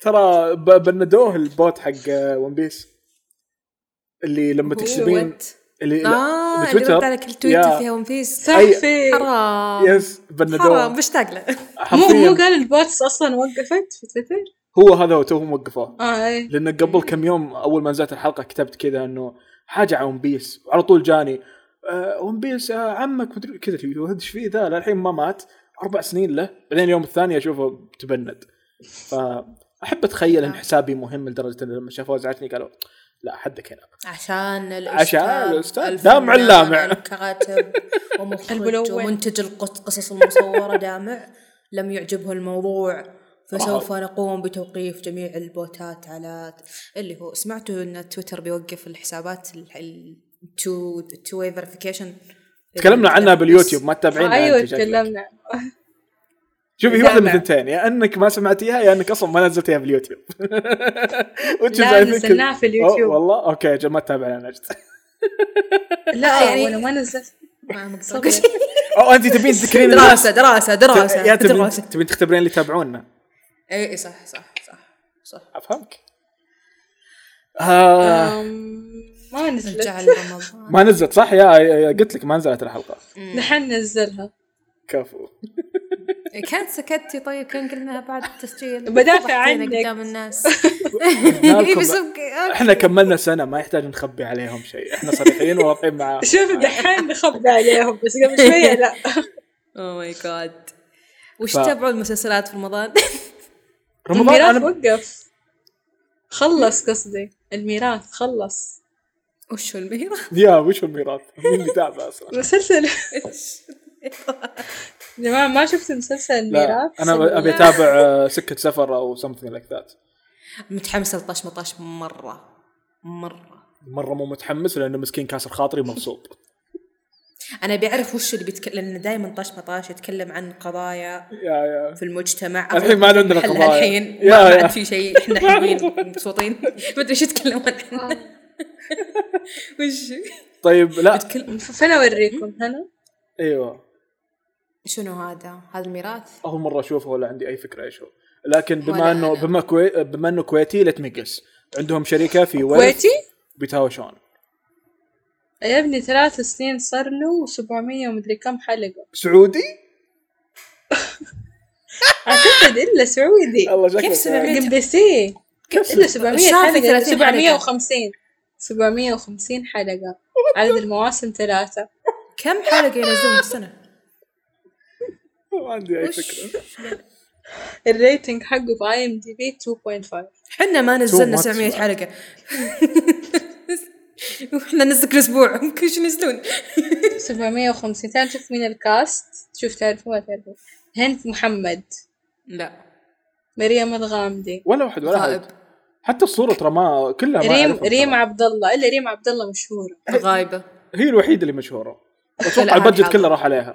Speaker 2: ترى ب- بندوه البوت حق ون بيس اللي لما تكتبين
Speaker 1: وات؟
Speaker 2: اللي لا،
Speaker 1: اه اللي
Speaker 2: بتويتر.
Speaker 1: رد على كل
Speaker 2: يا.
Speaker 1: تويتر فيها ون بيس
Speaker 3: صحفي
Speaker 1: حرام
Speaker 2: يس بندوه
Speaker 1: حرام مشتاق له
Speaker 3: مو مو
Speaker 2: حرفيا
Speaker 3: قال البوتس أصلا وقفت في تويتر
Speaker 2: هو هذا هو توهم وقفوه
Speaker 3: آه إيه
Speaker 2: لان قبل كم يوم اول ما نزلت الحلقه كتبت كذا انه حاجه عن ون بيس وعلى طول جاني آه ون بيس آه عمك مدري كذا يا ولد ايش فيه ذا للحين ما مات اربع سنين له بعدين اليوم الثاني اشوفه تبند فاحب اتخيل
Speaker 3: آه.
Speaker 2: ان حسابي مهم لدرجه ان لما شافوه زعلتني قالوا لا حدك هنا
Speaker 3: إيه.
Speaker 1: عشان
Speaker 2: عشان
Speaker 1: الاستاذ
Speaker 2: الأستاذ
Speaker 1: الفنان
Speaker 2: دامع اللامع.
Speaker 1: الكاتب ومخرج
Speaker 3: الملون.
Speaker 1: ومنتج القصص المصوره دامع لم يعجبه الموضوع فسوف نقوم بتوقيف جميع البوتات على اللي هو سمعتوا ان تويتر بيوقف الحسابات التو تو واي فيريفيكيشن
Speaker 2: تكلمنا عنها باليوتيوب ما تتابعينها
Speaker 3: آه أيوه
Speaker 2: أنت شكلك.
Speaker 3: تكلمنا
Speaker 2: شوفي هي واحده من
Speaker 3: دامع.
Speaker 2: الثنتين يا انك ما سمعتيها يا انك اصلا ما نزلتيها باليوتيوب (laughs) وانت
Speaker 3: لا،
Speaker 2: شايفين
Speaker 3: نزلناها
Speaker 2: كذا.
Speaker 3: في اليوتيوب.
Speaker 2: أوه، والله اوكي يا جماعة ما تتابعنا نجد
Speaker 3: لا
Speaker 1: يعني-
Speaker 3: يعني وأنا ما نزلت صبر.
Speaker 2: او انت تبين تذكرين الناس
Speaker 3: (laughs)
Speaker 1: دراسه دراسه دراسه
Speaker 3: يعني،
Speaker 2: يا تبين
Speaker 1: دراسه
Speaker 2: تبين تختبرين اللي يتابعونا
Speaker 1: اي إي صح صح صح صح
Speaker 2: افهمك آه
Speaker 3: أم، ما
Speaker 1: نرجع
Speaker 3: نزلت
Speaker 1: لرمضان
Speaker 2: ما نزلت صح يا يا- قلت لك ما نزلت الحلقه
Speaker 1: مم.
Speaker 3: نحن نزلها
Speaker 2: (laughs) كفو
Speaker 1: كانت سكتي طيب كان قلناها بعد التسجيل
Speaker 3: بدافع
Speaker 1: فضحتينا
Speaker 3: عنك.
Speaker 1: قدام الناس (laughs)
Speaker 2: قلنا
Speaker 1: إي
Speaker 3: (laughs)
Speaker 2: لكم
Speaker 1: بس
Speaker 2: احنا كملنا سنه ما يحتاج نخبي عليهم شيء احنا صريحين وواضحين
Speaker 3: (laughs)
Speaker 2: معاهم
Speaker 3: (laughs) شوف دحين نخبى عليهم بس قبل شوية لا
Speaker 1: اوه ماي جاد Oh وش
Speaker 2: ف-
Speaker 1: تابعوا المسلسلات في رمضان؟
Speaker 2: (laughs)
Speaker 1: (laughs)
Speaker 2: رمضان
Speaker 3: الميراث
Speaker 2: انا
Speaker 3: وقف خلص قصدي الميراث خلص
Speaker 1: وش هو المهيرة؟
Speaker 2: يا وش الميراث؟ مين بيتابع اصلا؟
Speaker 3: مسلسل يا جماعة ما شفت مسلسل
Speaker 2: لا
Speaker 3: (laughs) الميراث
Speaker 2: انا ابي اتابع آه، سكه سفر او something like that
Speaker 1: متحمسة لطش مطش مرة مرة
Speaker 2: مره مو متحمس لانه مسكين كاسر خاطري مغصوب
Speaker 1: أنا بعرف وش اللي بيتكلم لأن دائما طش مطاش يتكلم عن قضايا
Speaker 2: (laughs) يا يا
Speaker 1: في المجتمع
Speaker 2: الحين ما عندنا
Speaker 1: حلها
Speaker 2: قضايا. (laughs)
Speaker 1: الحين
Speaker 2: يا-
Speaker 1: ما, ما
Speaker 2: يا.
Speaker 1: عاد في شيء احنا حلوين مبسوطين (laughs) ما ادري شو يتكلمون عنه
Speaker 2: (laughs)
Speaker 1: وش
Speaker 2: طيب لا
Speaker 1: يتكلم
Speaker 3: فين اوريكم هنا؟
Speaker 2: ايوه
Speaker 1: شنو هذا؟ هذا الميراث؟
Speaker 2: اول مره اشوفه ولا عندي اي فكره ايش هو لكن بما
Speaker 1: ولا
Speaker 2: انه
Speaker 1: أنا.
Speaker 2: بما كوي... بما انه كويتي ليت مي جس عندهم شركه في ويلز
Speaker 3: كويتي؟
Speaker 2: بيتهاوشون
Speaker 3: يا ابني ثلاث سنين صار له و700 ومدري كم حلقة
Speaker 2: سعودي؟
Speaker 3: اعتقد الا سعودي
Speaker 2: الله شكله
Speaker 1: كيف
Speaker 2: سعودي.
Speaker 1: سمعت؟
Speaker 3: ام بي سي الا 700
Speaker 1: الشهر في
Speaker 3: حلقة
Speaker 1: 30 حلقة.
Speaker 3: 750 750 حلقة عدد المواسم ثلاثة
Speaker 1: كم حلقة ينزلون بالسنة؟
Speaker 2: ما عندي اي
Speaker 1: وش؟
Speaker 2: فكره
Speaker 3: الريتنج حقه في اي ام دي بي 2.5
Speaker 1: حنا ما نزلنا
Speaker 2: much.
Speaker 1: 700 حلقة واحنا نزل كل اسبوع كل شيء ينزلون
Speaker 3: 750 تعال شوف مين الكاست شوف تعرفوا ما تعرفوا هند محمد
Speaker 1: لا
Speaker 3: مريم الغامدي
Speaker 2: ولا واحد ولا
Speaker 1: غائب
Speaker 2: واحد حتى الصوره ترى ما كلها ما
Speaker 3: ريم
Speaker 2: أعرفهم ترى.
Speaker 3: ريم عبد الله الا ريم عبد الله مشهوره
Speaker 1: غايبة
Speaker 2: هي الوحيده اللي مشهوره
Speaker 1: لا،
Speaker 2: اتوقع
Speaker 1: هذه
Speaker 2: البادجت
Speaker 1: حاضرة.
Speaker 2: كله راح عليها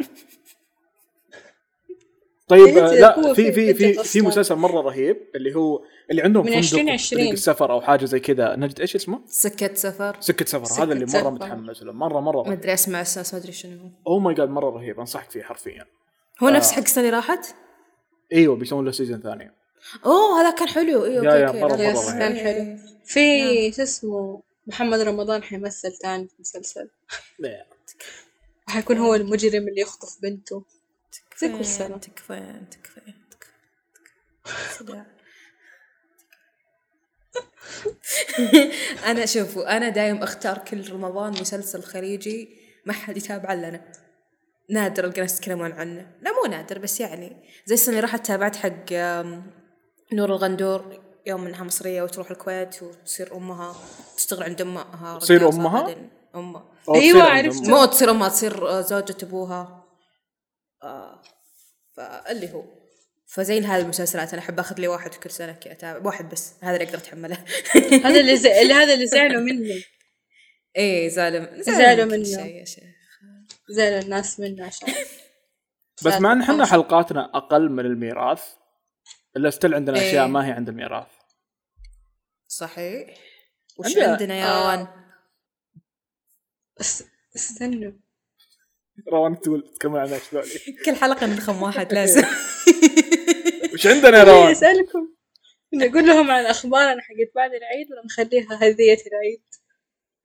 Speaker 2: طيب
Speaker 3: هي
Speaker 2: آه،
Speaker 3: تقول
Speaker 2: لا في في
Speaker 3: في
Speaker 2: في في
Speaker 3: البادجت أصلاً.
Speaker 2: مسلسل مره رهيب اللي هو اللي عندهم
Speaker 3: من
Speaker 2: فندق
Speaker 3: 20
Speaker 2: في
Speaker 3: 20.
Speaker 2: طريق السفر او حاجه زي كذا نجد ايش اسمه؟
Speaker 1: سكة سفر
Speaker 2: سكه سفر
Speaker 3: سكة
Speaker 2: هذا اللي مره
Speaker 3: سفر.
Speaker 2: متحمس له مره مره
Speaker 1: ما
Speaker 2: رهيب.
Speaker 1: ادري اسمع اساس ما ادري شنو هو
Speaker 2: اوه ماي جاد مره رهيب انصحك فيه حرفيا آه.
Speaker 1: هو نفس حق السنة اللي راحت؟
Speaker 2: ايوه بيسوون له سيزون ثاني
Speaker 1: اوه هذا كان حلو ايوه
Speaker 2: يا-
Speaker 1: اوكي
Speaker 2: يا،
Speaker 1: اوكي
Speaker 2: مرة-
Speaker 1: لا، لا،
Speaker 2: مرة
Speaker 1: صح.
Speaker 3: كان حلو. في شو اسمه محمد رمضان حيمثل تاني في مسلسل
Speaker 2: لا.
Speaker 3: وحيكون هو المجرم اللي يخطف بنته زي
Speaker 1: إيه،
Speaker 3: كل سنة.
Speaker 1: تكفين تكفين تكفين صداع. (laughs) انا شوفوا انا دايم اختار كل رمضان مسلسل خليجي ما حد يتابع الا انا نادر القى ناس يتكلمون عنه لا مو نادر بس يعني زي السنه اللي راحت تابعت حق أم، نور الغندور يوم انها مصريه وتروح الكويت وتصير امها تشتغل عند امها
Speaker 2: تصير
Speaker 1: رقاصة
Speaker 2: أمها؟
Speaker 1: بعدين امها
Speaker 2: أو
Speaker 3: أيوة،
Speaker 2: تصير عندهم-
Speaker 3: عرفت.
Speaker 1: مو تصير امها تصير آه، زوجة ابوها آه فاللي هو فزي هذه المسلسلات انا احب اخذ لي واحد كل سنه كي اتابع واحد بس هذا اللي اقدر (laughs) اتحمله
Speaker 3: هذا اللي ز... اللي هذا اللي زعلوا مني
Speaker 1: ايه زعلوا
Speaker 3: زعلوا
Speaker 1: كل
Speaker 3: منه.
Speaker 1: شيء يا شيخ
Speaker 3: زعلوا الناس منه عشان
Speaker 2: بس مع ان احنا
Speaker 3: خلاص.
Speaker 2: حلقاتنا اقل من الميراث الا ستيل عندنا
Speaker 1: إيه.
Speaker 2: اشياء ما هي عند الميراث
Speaker 1: صحيح وش
Speaker 2: عندنا-
Speaker 1: عندنا يا
Speaker 3: آه.
Speaker 1: روان؟
Speaker 3: بس استنوا
Speaker 2: روان تقول تكمل عن ايش ذولي.
Speaker 1: كل حلقه نخم واحد لازم
Speaker 2: (laughs) وش عندنا يا
Speaker 3: إيه،
Speaker 1: (laughs)
Speaker 2: روان؟
Speaker 3: اسالكم نقول لهم عن اخبارنا حقت بعد العيد ولا نخليها هدية العيد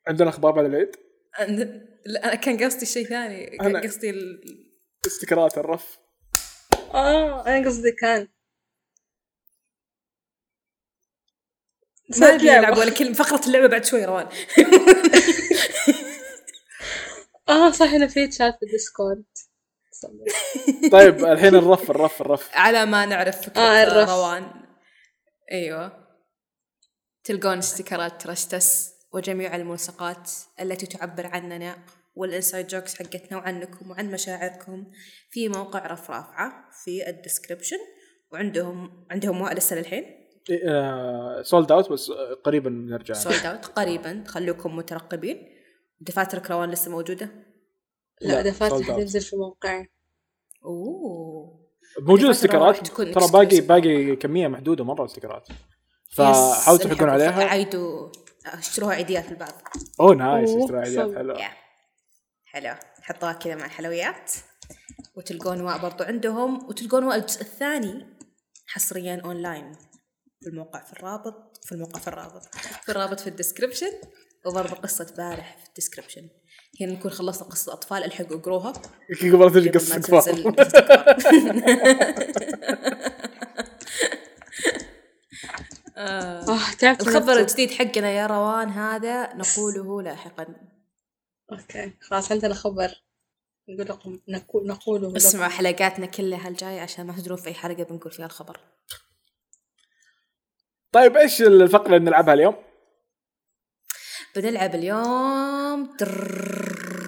Speaker 2: عندنا اخبار بعد العيد؟
Speaker 1: أنا- لا انا كان قصدي شيء ثاني كان
Speaker 2: أنا-
Speaker 1: قصدي ال-
Speaker 2: استكرات الرف
Speaker 3: اه انا قصدي كان
Speaker 1: ما ادري نلعب ولا كلمه فقره اللعبه بعد شوي روان
Speaker 3: اه صح انا في تشات في الديسكورد
Speaker 2: طيب الحين الرف الرف الرف
Speaker 1: على ما نعرف فكرة
Speaker 3: آه، الرف.
Speaker 1: روان أيوة تلقون استيكرات ترشتس وجميع الملصقات التي تعبر عننا والإنسايد جوكس حقتنا وعنكم وعن مشاعركم في موقع رف رافعة في الديسكربشن وعندهم عندهم وائل لسه للحين
Speaker 2: سولد اوت بس إيه، آه، قريبا بنرجع
Speaker 1: سولد اوت قريبا خلوكم مترقبين دفاتر كروان لسه موجودة
Speaker 3: لا دفاتر
Speaker 2: sold out.
Speaker 3: حتنزل في موقعي
Speaker 1: اوه
Speaker 2: موجود
Speaker 1: الفترة راح
Speaker 2: استيكرات
Speaker 1: تكون
Speaker 2: ترى باقي
Speaker 1: exclusive.
Speaker 2: باقي كميه محدوده مره استيكرات
Speaker 1: يس،
Speaker 2: فحاولوا تحقون
Speaker 1: نحب الفقرة.
Speaker 2: عليها
Speaker 1: عيدوا اشتروها عيديات البعض
Speaker 2: اوه نايس
Speaker 3: أوه،
Speaker 2: اشتري عيديات
Speaker 3: صدق.
Speaker 2: حلو (laughs)
Speaker 1: يا حلو حطوها كذا مع الحلويات وتلقون واء برضو عندهم وتلقون واء الجزء الثاني حصريا اونلاين في الموقع في الرابط في الموقع في الرابط في الرابط في الديسكربشن وبرضه قصة بارح في الديسكربشن هنا نكون خلصنا قصة أطفال الحقوا اقروها
Speaker 2: قبل تجي
Speaker 1: قبل ما
Speaker 2: قصة كفار (laughs)
Speaker 1: تنزل قصة كفار. آه.
Speaker 3: اه تعبت من
Speaker 1: الخبر
Speaker 3: الطب.
Speaker 1: الجديد حقنا يا روان هذا نقوله لاحقا
Speaker 3: اوكي خلاص عندنا خبر نقول لكم نقول نقوله لكم.
Speaker 1: اسمعوا حلقاتنا كلها الجاية عشان ما تدرون في أي حلقة بنقول فيها الخبر
Speaker 2: طيب ايش الفقرة اللي نلعبها اليوم؟ (laughs)
Speaker 1: بنلعب اليوم تررررررررررررررررررررررررررررررررررررررر.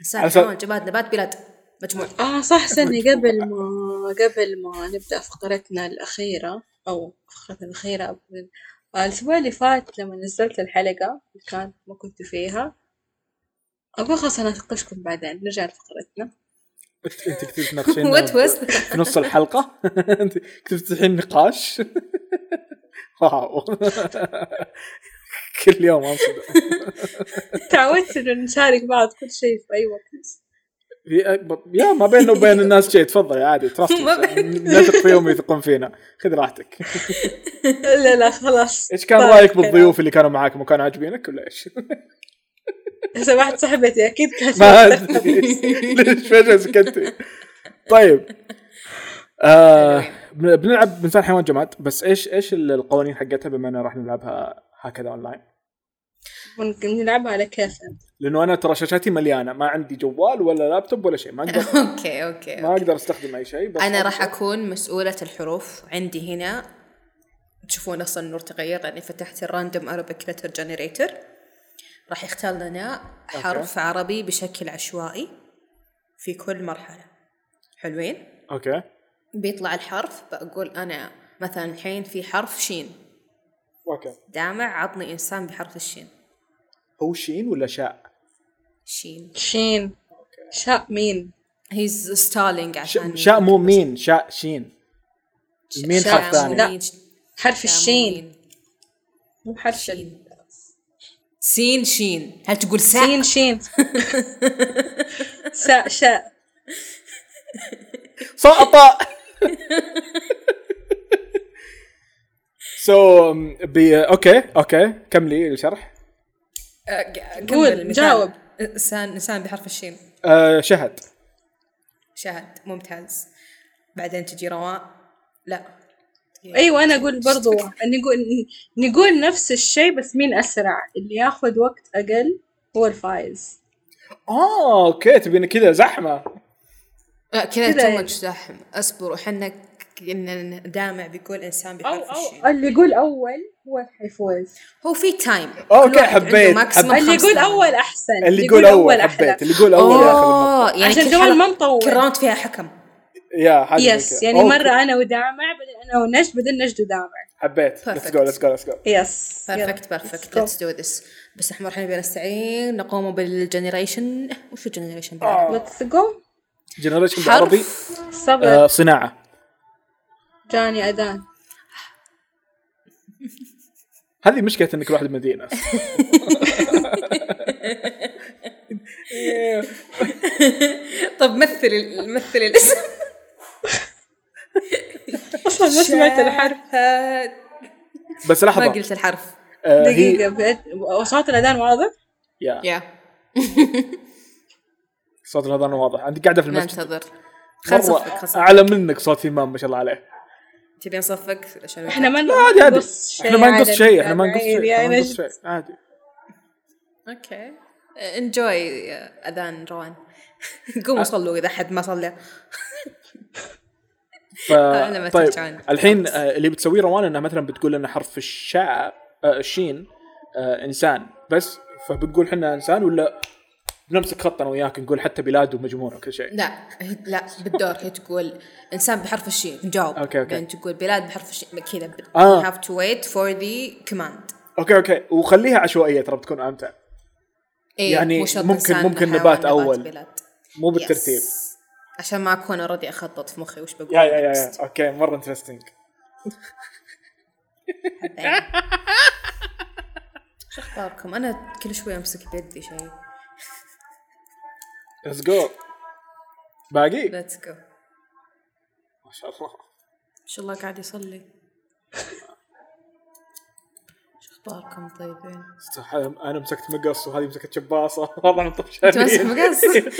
Speaker 1: إنسان
Speaker 2: على سب-
Speaker 1: حيوان جماد نبات بلاد مجموع
Speaker 3: اه صح استني قبل ما قبل ما نبدا فقرتنا الاخيره او فقرتنا الاخيره أقول- آه، الاسبوع اللي فات لما نزلت الحلقه اللي كانت ما كنت فيها اقول خلاص انا اناقشكم بعدين
Speaker 2: (laughs)
Speaker 3: نرجع لفقرتنا
Speaker 2: انت انت كنت تناقشين
Speaker 1: وات
Speaker 2: (laughs) في
Speaker 1: واز
Speaker 2: نص الحلقة (laughs) انت كنت تفتحين نقاش (laughs) واو (laughs) كل يوم انصدم
Speaker 3: تعودت انه نشارك بعض كل شيء في اي وقت
Speaker 2: في أكبر- يا ما بيننا وبين الناس شيء تفضل عادي ترى
Speaker 1: ما بين-
Speaker 2: نثق فيهم يثقون فينا خذ راحتك
Speaker 3: لا لا خلاص طيب،
Speaker 2: ايش كان
Speaker 3: طار
Speaker 2: رايك
Speaker 3: الكلام.
Speaker 2: بالضيوف اللي كانوا معاكم وكانوا عاجبينك ولا ايش؟
Speaker 3: إذا واحد صاحبتي اكيد كانت
Speaker 2: ما (laughs)
Speaker 1: (laughs)
Speaker 2: ادري ليش فجاه سكتي طيب آه بن- بنلعب مثال حيوان جماد بس ايش ايش ال- القوانين حقتها بما اننا راح نلعبها هكذا اونلاين
Speaker 3: ممكن نلعبها على كيفنا
Speaker 2: لانه انا ترى شاشتي مليانه ما عندي جوال ولا لابتوب ولا شيء ما اقدر
Speaker 1: أوكي أوكي
Speaker 2: ما اقدر استخدم اي شيء بس
Speaker 1: أنا راح أكون مسؤولة الحروف عندي هنا تشوفون أصلا النور تغير لأني فتحت الراندوم أرابيك لتر جنريتر راح يختار لنا حرف عربي بشكل عشوائي في كل مرحلة حلوين؟
Speaker 2: اوكي
Speaker 1: بيطلع الحرف بقول أنا مثلا الحين في حرف شين
Speaker 2: اوكي
Speaker 1: دامع عطني إنسان بحرف الشين
Speaker 2: هو شين ولا شاء؟
Speaker 1: شين
Speaker 3: شين شاء مين
Speaker 1: هيز ستالينج
Speaker 2: ش-
Speaker 1: عشان
Speaker 2: شاء مو مين شاء شين مين
Speaker 1: شاء
Speaker 2: حرف ثاني.
Speaker 1: مو
Speaker 3: لا،
Speaker 1: مين، شاء
Speaker 3: حرف
Speaker 1: مو
Speaker 3: الشين
Speaker 1: مين.
Speaker 3: مو حرف ال-
Speaker 1: سين شين هل تقول ساء؟
Speaker 3: سين (laughs) شين ساء شاء
Speaker 2: سقط سو um, بي اوكي اوكي كملي الشرح
Speaker 1: آه، ق- كمل
Speaker 3: قول،
Speaker 1: المثال.
Speaker 3: جاوب.
Speaker 1: إنسان إنسان بحرف الشين
Speaker 2: آه شهد
Speaker 1: شاهد ممتاز بعدين تجي روان لا
Speaker 3: ايوه انا اقول برضو نقول نقول نفس الشيء بس مين اسرع اللي ياخذ وقت اقل هو الفايز
Speaker 2: اه اوكي تبين كذا زحمه
Speaker 1: لا كذا
Speaker 3: كذا يعني.
Speaker 1: تو زحم اصبر وحنا كنا دامع بيقول انسان بحرف الشين
Speaker 3: اللي يقول اول هو حيفوز
Speaker 1: هو في تايم
Speaker 2: أوكي، حبيت، حبيت.
Speaker 3: اللي يقول اول احسن
Speaker 2: اللي يقول اول حبيت اللي يقول اول ياخذ
Speaker 1: اوه يعني
Speaker 3: عشان
Speaker 1: كل
Speaker 3: جوال ما
Speaker 1: حلقة-
Speaker 3: مطول.
Speaker 1: كل راوند فيها حكم
Speaker 2: يا حاجه زي
Speaker 3: يس
Speaker 2: كذا.
Speaker 3: يعني
Speaker 2: أوكي،
Speaker 3: مره انا ودامع بعدين انا ونجد بعدين نجد ودامع
Speaker 2: حبيت ليتس جو ليتس جو ليتس جو
Speaker 3: يس
Speaker 1: بيرفكت بيرفكت ليتس دو ذس بس احنا رايحين بنستعين نقوم بالجنريشن وش الجنريشن
Speaker 2: Uh,
Speaker 1: بالعربي؟
Speaker 3: ليتس جو
Speaker 2: جنريشن
Speaker 1: حرف.
Speaker 2: بالعربي
Speaker 3: صبر
Speaker 2: آه صناعه
Speaker 3: جاني اذان
Speaker 2: هذه مشكله انك واحد مدينه
Speaker 1: طب مثل مثل (laughs) الاسم
Speaker 3: اصلا ما سمعت الحرف
Speaker 1: شاهد.
Speaker 2: بس
Speaker 1: (laughs) ما
Speaker 2: لحظه
Speaker 1: قلت الحرف
Speaker 2: آه هي
Speaker 3: دقيقه بعد- صوت الاذان واضح
Speaker 2: يا
Speaker 1: يا
Speaker 2: صوت الاذان واضح انت قاعده في المسجد
Speaker 1: ننتظر خلنا نصفق
Speaker 2: مرة
Speaker 1: خلنا نصفق.
Speaker 2: اعلى منك صوت امام ما شاء الله عليه
Speaker 1: تبي نصفق عشان
Speaker 3: احنا ما
Speaker 2: عادي عادي
Speaker 3: نقص شيء
Speaker 2: احنا ما نقص
Speaker 3: على
Speaker 2: شيء احنا ما نقص
Speaker 3: المتابعين
Speaker 2: شيء
Speaker 3: يا
Speaker 2: احنا ما نقص
Speaker 3: نجد.
Speaker 2: شيء عادي
Speaker 1: اوكي انجوي اذان uh, روان (laughs)
Speaker 2: أه.
Speaker 1: قوموا صلوا اذا حد ما صلى
Speaker 2: ف...
Speaker 1: لما
Speaker 2: طيب
Speaker 1: ترجعون.
Speaker 2: الحين آه، اللي بتسويه روان انها مثلا بتقول لنا حرف الشاء آه، الشين آه، انسان بس فبنقول احنا انسان ولا بنمسك خط انا وياك نقول حتى بلاد ومجموعه وكل شيء
Speaker 1: لا هي- لا بالدور هي تقول انسان بحرف الشين نجاوب
Speaker 2: أوكي، أوكي.
Speaker 1: بعدين تقول بلاد بحرف الشين كذا ب-
Speaker 2: آه.
Speaker 1: you have to wait for the command
Speaker 2: اوكي اوكي وخليها عشوائيه ترى بتكون امتع
Speaker 1: إيه
Speaker 2: يعني
Speaker 1: مو شرط
Speaker 2: ممكن-
Speaker 1: إنسان،
Speaker 2: ممكن
Speaker 1: حيوان،
Speaker 2: نبات أول.
Speaker 1: بلاد.
Speaker 2: مو بالترتيب
Speaker 1: Yes. عشان ما اكون اوريدي اخطط في مخي وش بقول
Speaker 2: يا يا يا, يا.
Speaker 1: next.
Speaker 2: اوكي مره انترستنج
Speaker 1: شو اخباركم؟ انا كل شوي امسك بيدي شيء
Speaker 2: ليتس جو باقي
Speaker 1: ليتس جو
Speaker 2: ما شاء الله
Speaker 1: ما شاء الله قاعد يصلي (laughs) شو اخباركم طيبين؟
Speaker 2: استح- انا مسكت مقص وهذه مسكت شباصه (laughs) والله طفشانين
Speaker 1: تمسك مقص
Speaker 2: (laughs)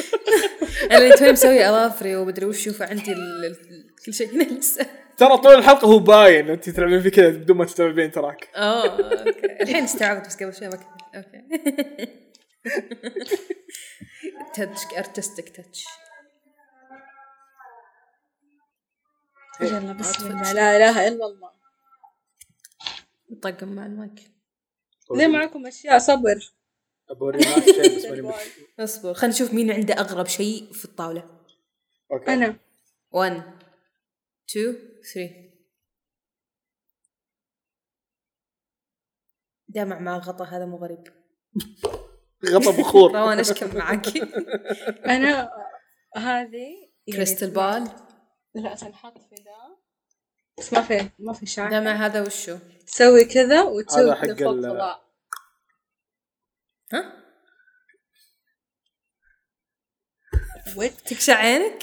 Speaker 1: انا توني مسوي اظافري ومدري وش شوف عندي ال- ال- كل شيء (laughs) هنا لسه
Speaker 2: ترى طول الحلقه هو باين انت تلعبين فيه كذا بدون ما تستوعبين تراك
Speaker 1: اه اوكي الحين استوعبت بس قبل شوي ما كنت اوكي (laughs) تاتش ارتستيك تاتش
Speaker 3: يلا بسم الله لا اله الا الله
Speaker 1: طقم مع المايك
Speaker 3: ليه معكم اشياء صبر
Speaker 2: أبوري معك شيء بس ماني مت-
Speaker 1: (laughs) اصبر خلينا نشوف مين عنده اغرب شيء في الطاوله
Speaker 2: اوكي
Speaker 3: انا
Speaker 1: 1 2 3 دمع مع غطا هذا مو غريب
Speaker 2: غطى
Speaker 1: (laughs)
Speaker 2: بخور
Speaker 1: روان اشكم معك (laughs) يعني
Speaker 3: انا هذه
Speaker 1: كريستال بال
Speaker 3: لا تنحط في ذا بس ما في ما في شعر
Speaker 1: دمع هذا وشو؟
Speaker 3: تسوي كذا وتسوي
Speaker 2: هذا حق
Speaker 3: كذا فوق
Speaker 2: ال-
Speaker 3: فضاء
Speaker 1: ها؟
Speaker 3: وات
Speaker 1: تقشع عينك؟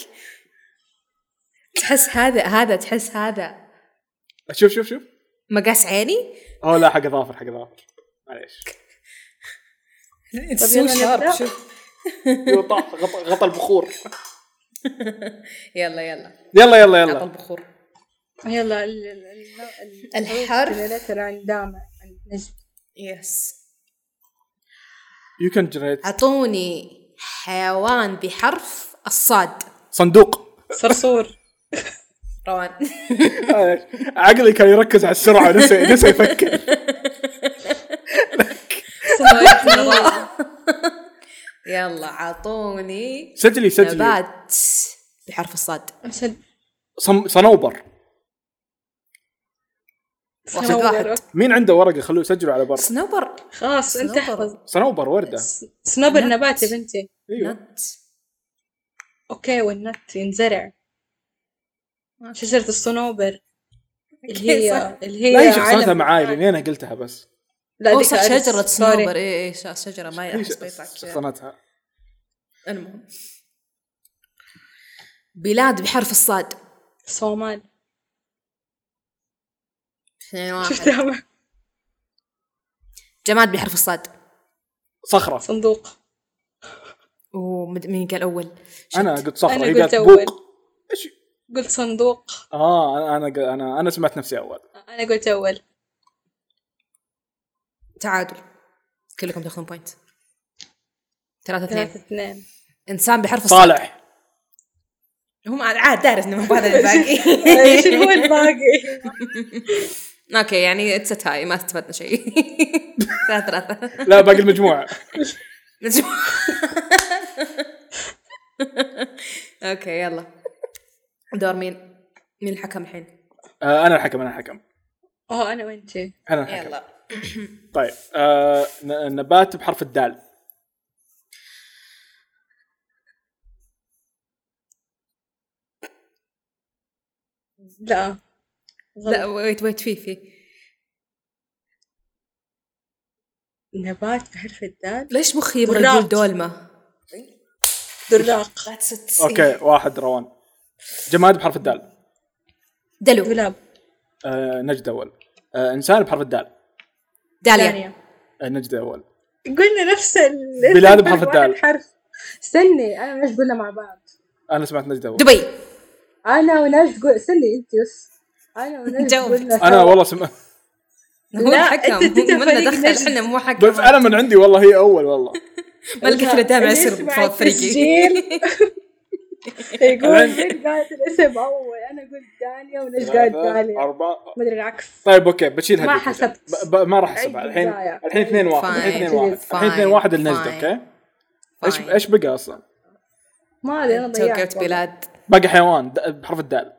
Speaker 1: تحس هذا هذا تحس هذا
Speaker 2: شوف شوف شوف
Speaker 1: مقاس عيني؟
Speaker 2: اوه لا حق اظافر حق اظافر معليش
Speaker 1: It's so
Speaker 3: يلا
Speaker 1: sharp.
Speaker 3: نبدأ.
Speaker 1: شوف
Speaker 2: يو طاح، غطى غطى البخور
Speaker 1: يلا يلا
Speaker 2: يلا يلا
Speaker 1: عطى
Speaker 2: يلا
Speaker 1: البخور
Speaker 3: يلا ال- ال- ال- ال-
Speaker 1: الحرف.
Speaker 3: اللتر عن دامع عن نجم
Speaker 1: يس
Speaker 2: يو كان جنريت
Speaker 1: اعطوني حيوان بحرف الصاد
Speaker 2: صندوق
Speaker 3: صرصور
Speaker 1: (laughs) روان
Speaker 2: معليش. عقلي كان يركز على السرعه نسى نسى يفكر
Speaker 1: (laughs) يلا عطوني
Speaker 2: سجلي سجلي
Speaker 1: نبات بحرف الصاد
Speaker 3: عشان
Speaker 2: صن- صنوبر
Speaker 1: واحد
Speaker 3: صنوبر.
Speaker 1: واحد.
Speaker 2: مين عنده ورقه خلوه يسجلوا على برا
Speaker 1: صنوبر
Speaker 3: خلاص انت
Speaker 1: صنوبر.
Speaker 3: احفظ
Speaker 2: صنوبر ورده
Speaker 3: س- صنوبر
Speaker 1: نت.
Speaker 3: نبات يا بنتي
Speaker 2: ايوه
Speaker 1: نت
Speaker 3: اوكي والنت ينزرع شجرة الصنوبر
Speaker 1: أوكي،
Speaker 3: اللي
Speaker 1: صح.
Speaker 3: هي اللي هي
Speaker 2: لا هي
Speaker 3: علم
Speaker 2: شخصيتها معاي
Speaker 3: النبات.
Speaker 2: لاني انا قلتها بس
Speaker 3: لا
Speaker 1: أو
Speaker 3: ديك
Speaker 1: صح
Speaker 3: أليس،
Speaker 1: شجرة
Speaker 3: سوري.
Speaker 1: صنوبر اي اي ش- شجرة ما
Speaker 2: هي
Speaker 1: أحس بيطلع كذا.
Speaker 2: شخصنتها
Speaker 1: المهم بلاد بحرف الصاد
Speaker 3: الصومال
Speaker 1: اثنين واحد
Speaker 3: شفتها
Speaker 1: جماد بحرف الصاد
Speaker 2: صخره
Speaker 3: صندوق
Speaker 1: ومد- مين قال أول؟ شت.
Speaker 2: انا قلت صخره
Speaker 3: أنا
Speaker 2: هي
Speaker 3: قلت
Speaker 2: قالت
Speaker 3: أول.
Speaker 2: بوق ايش
Speaker 3: قلت صندوق
Speaker 2: اه أنا- انا ق- انا انا سمعت نفسي
Speaker 3: (laughs)
Speaker 2: اول
Speaker 3: انا قلت اول
Speaker 1: تعادل كلكم تاخذون بوينت ثلاثة
Speaker 3: ثلاثة
Speaker 1: اثنين
Speaker 3: اثنين (laughs)
Speaker 1: إنسان بحرف الصاد
Speaker 2: طالع
Speaker 1: هم عاد دارس إنه مو هذا الباقي (laughs)
Speaker 3: ايش هو الباقي
Speaker 1: اوكي يعني اتس تاي ما استفدنا شيء (laughs) ثلاثة ثلاثة
Speaker 2: لا باقي
Speaker 3: (laughs)
Speaker 2: المجموعه
Speaker 1: نجم. اوكي يلا دور مين؟ مين الحكم الحين؟
Speaker 2: آه انا الحكم انا الحكم
Speaker 3: اه انا وانتي
Speaker 2: انا الحكم
Speaker 1: يلا
Speaker 2: طيب آه ن- نبات بحرف الدال
Speaker 3: لا
Speaker 1: لا ويت ويت في في
Speaker 3: نبات بحرف الدال
Speaker 1: ليش مخي يبغى
Speaker 3: براق.
Speaker 1: يقول دولمة؟
Speaker 3: دراق
Speaker 2: اوكي واحد روان جماد بحرف الدال
Speaker 1: دلو
Speaker 3: دولاب
Speaker 2: آه نجد اول آه انسان بحرف الدال
Speaker 1: داليا
Speaker 3: ثانية
Speaker 2: آه نجد اول
Speaker 3: قلنا نفس ال
Speaker 2: بلاد بحرف الدال.
Speaker 3: حرف استني انا ونجد قلنا مع بعض
Speaker 2: انا سمعت نجد
Speaker 3: (laughs)
Speaker 2: اول
Speaker 1: دبي
Speaker 3: انا ونجد قل... استني انت بس انا ونجد
Speaker 1: جاوبت.
Speaker 3: قلنا
Speaker 2: انا
Speaker 3: سوا.
Speaker 2: والله سمعت
Speaker 1: هو
Speaker 3: لا،
Speaker 1: الحكم
Speaker 3: أنت- أنت
Speaker 1: هو منا
Speaker 3: فريق
Speaker 1: دخل
Speaker 3: نجد.
Speaker 1: احنا مو حكم
Speaker 2: (laughs) بس انا من عندي والله هي اول والله
Speaker 1: ما لقيت الا دامع
Speaker 3: اللي
Speaker 1: يصير
Speaker 3: يسمع
Speaker 1: بفوق فريقي (laughs)
Speaker 3: التسجيل يقول
Speaker 2: العين.
Speaker 3: نجد قالت الاسم اول انا قلت دانيا ونجد قالت داليا
Speaker 2: أربعة
Speaker 3: مدري العكس
Speaker 2: طيب اوكي بشيل هذيك
Speaker 3: ما حسبت.
Speaker 2: ب... ب... ما راح احسبها
Speaker 3: عد
Speaker 2: الحين
Speaker 3: البداية.
Speaker 2: الحين 2 1 الحين
Speaker 1: Fine.
Speaker 2: 2 1 الحين
Speaker 1: Fine.
Speaker 2: 2 1 لنجد
Speaker 1: Fine.
Speaker 2: اوكي ايش
Speaker 1: Fine.
Speaker 2: ايش بقى اصلا؟
Speaker 3: ما ادري انا ضيعت
Speaker 1: توقعت
Speaker 3: والله.
Speaker 1: بلاد
Speaker 2: باقي حيوان د... بحرف الدال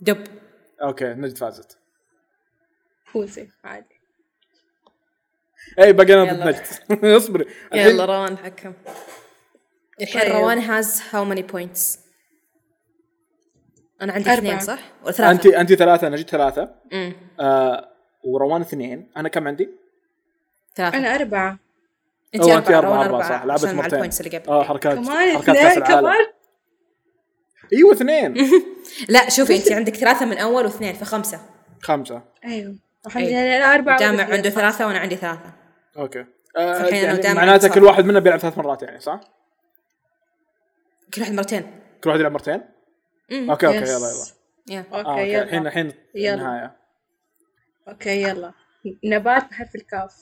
Speaker 1: دب
Speaker 2: اوكي نجد فازت
Speaker 3: فوزي عادي
Speaker 2: اي باقي انا ضد
Speaker 1: يلا.
Speaker 2: نجد (laughs) اصبري الحين-
Speaker 1: يلا روان حكم الحين
Speaker 3: طيب.
Speaker 1: روان هاز هاو ماني بوينتس انا عندي
Speaker 3: أربعة.
Speaker 1: اثنين صح؟ ولا ثلاثة؟
Speaker 2: انت انت ثلاثه انا جبت ثلاثه
Speaker 1: أمم،
Speaker 2: آه وروان اثنين انا كم عندي؟
Speaker 1: ثلاثة
Speaker 3: انا اربعه
Speaker 1: انت
Speaker 2: أوه،
Speaker 1: أربعة روان
Speaker 2: أربعة،
Speaker 1: أربعة
Speaker 2: صح لعبت
Speaker 1: عشان مع
Speaker 2: مرتين
Speaker 1: البوينتس اللي قبل
Speaker 2: اه حركات
Speaker 3: كمان
Speaker 2: حركات كاس
Speaker 3: اثنين
Speaker 2: العالم
Speaker 3: كمان
Speaker 2: ايوه
Speaker 1: (laughs)
Speaker 2: اثنين
Speaker 1: لا شوفي انت عندك ثلاثة من اول واثنين فخمسة
Speaker 2: خمسة
Speaker 3: ايوه الحمد
Speaker 1: أيوة.
Speaker 3: لله لا، أربعة
Speaker 2: (laughs)
Speaker 1: جامع
Speaker 3: واثنين.
Speaker 1: عنده ثلاثة وانا عندي ثلاثة
Speaker 2: اوكي آه
Speaker 1: فالحين أنا
Speaker 2: يعني
Speaker 1: ودائما
Speaker 2: معناته
Speaker 1: أتصل.
Speaker 2: كل واحد منا بيلعب ثلاث مرات يعني صح؟
Speaker 1: كل واحد مرتين
Speaker 2: كل واحد يلعب مرتين؟
Speaker 1: أمم،
Speaker 2: اوكي اوكي
Speaker 3: يس.
Speaker 2: يلا يلا
Speaker 1: يا.
Speaker 2: آه،
Speaker 3: أوكي
Speaker 2: اوكي
Speaker 3: يلا
Speaker 2: الحين الحين
Speaker 3: يلا.
Speaker 2: النهاية
Speaker 3: أوكي يلا نبات بحرف الكاف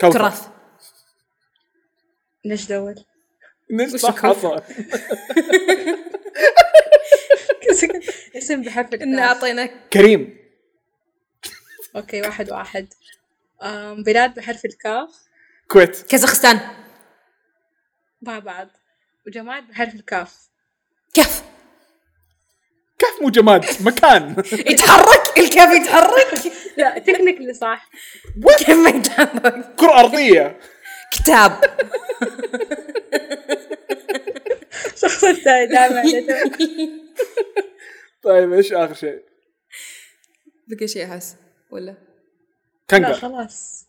Speaker 2: كوثر. (laughs)
Speaker 1: كراث
Speaker 3: نجدول (laughs)
Speaker 2: نس-
Speaker 1: وش
Speaker 2: صح،
Speaker 1: الكوثر؟
Speaker 2: حصل.
Speaker 3: اسم بحرف
Speaker 1: إن
Speaker 3: الكاف
Speaker 1: اعطيناك
Speaker 2: كريم
Speaker 3: أوكي واحد واحد أم بلاد بحرف الكاف
Speaker 2: كويت
Speaker 1: كازاخستان
Speaker 3: مع بعض وجماعة بحرف الكاف (laughs)
Speaker 1: كيف
Speaker 2: كيف مو جماد مكان
Speaker 1: يتحرك الكيف
Speaker 2: (laughs)
Speaker 1: يتحرك
Speaker 3: لا تكنيكلي صح
Speaker 1: كيف ما يتحرك
Speaker 2: كرة أرضية
Speaker 1: كتاب
Speaker 2: (laughs)
Speaker 3: شخص ثاني
Speaker 2: (laughs)
Speaker 3: دائما
Speaker 2: طيب ايش آخر شيء؟
Speaker 1: بقى شيء احس ولا
Speaker 3: لا
Speaker 2: كنجر
Speaker 3: خلاص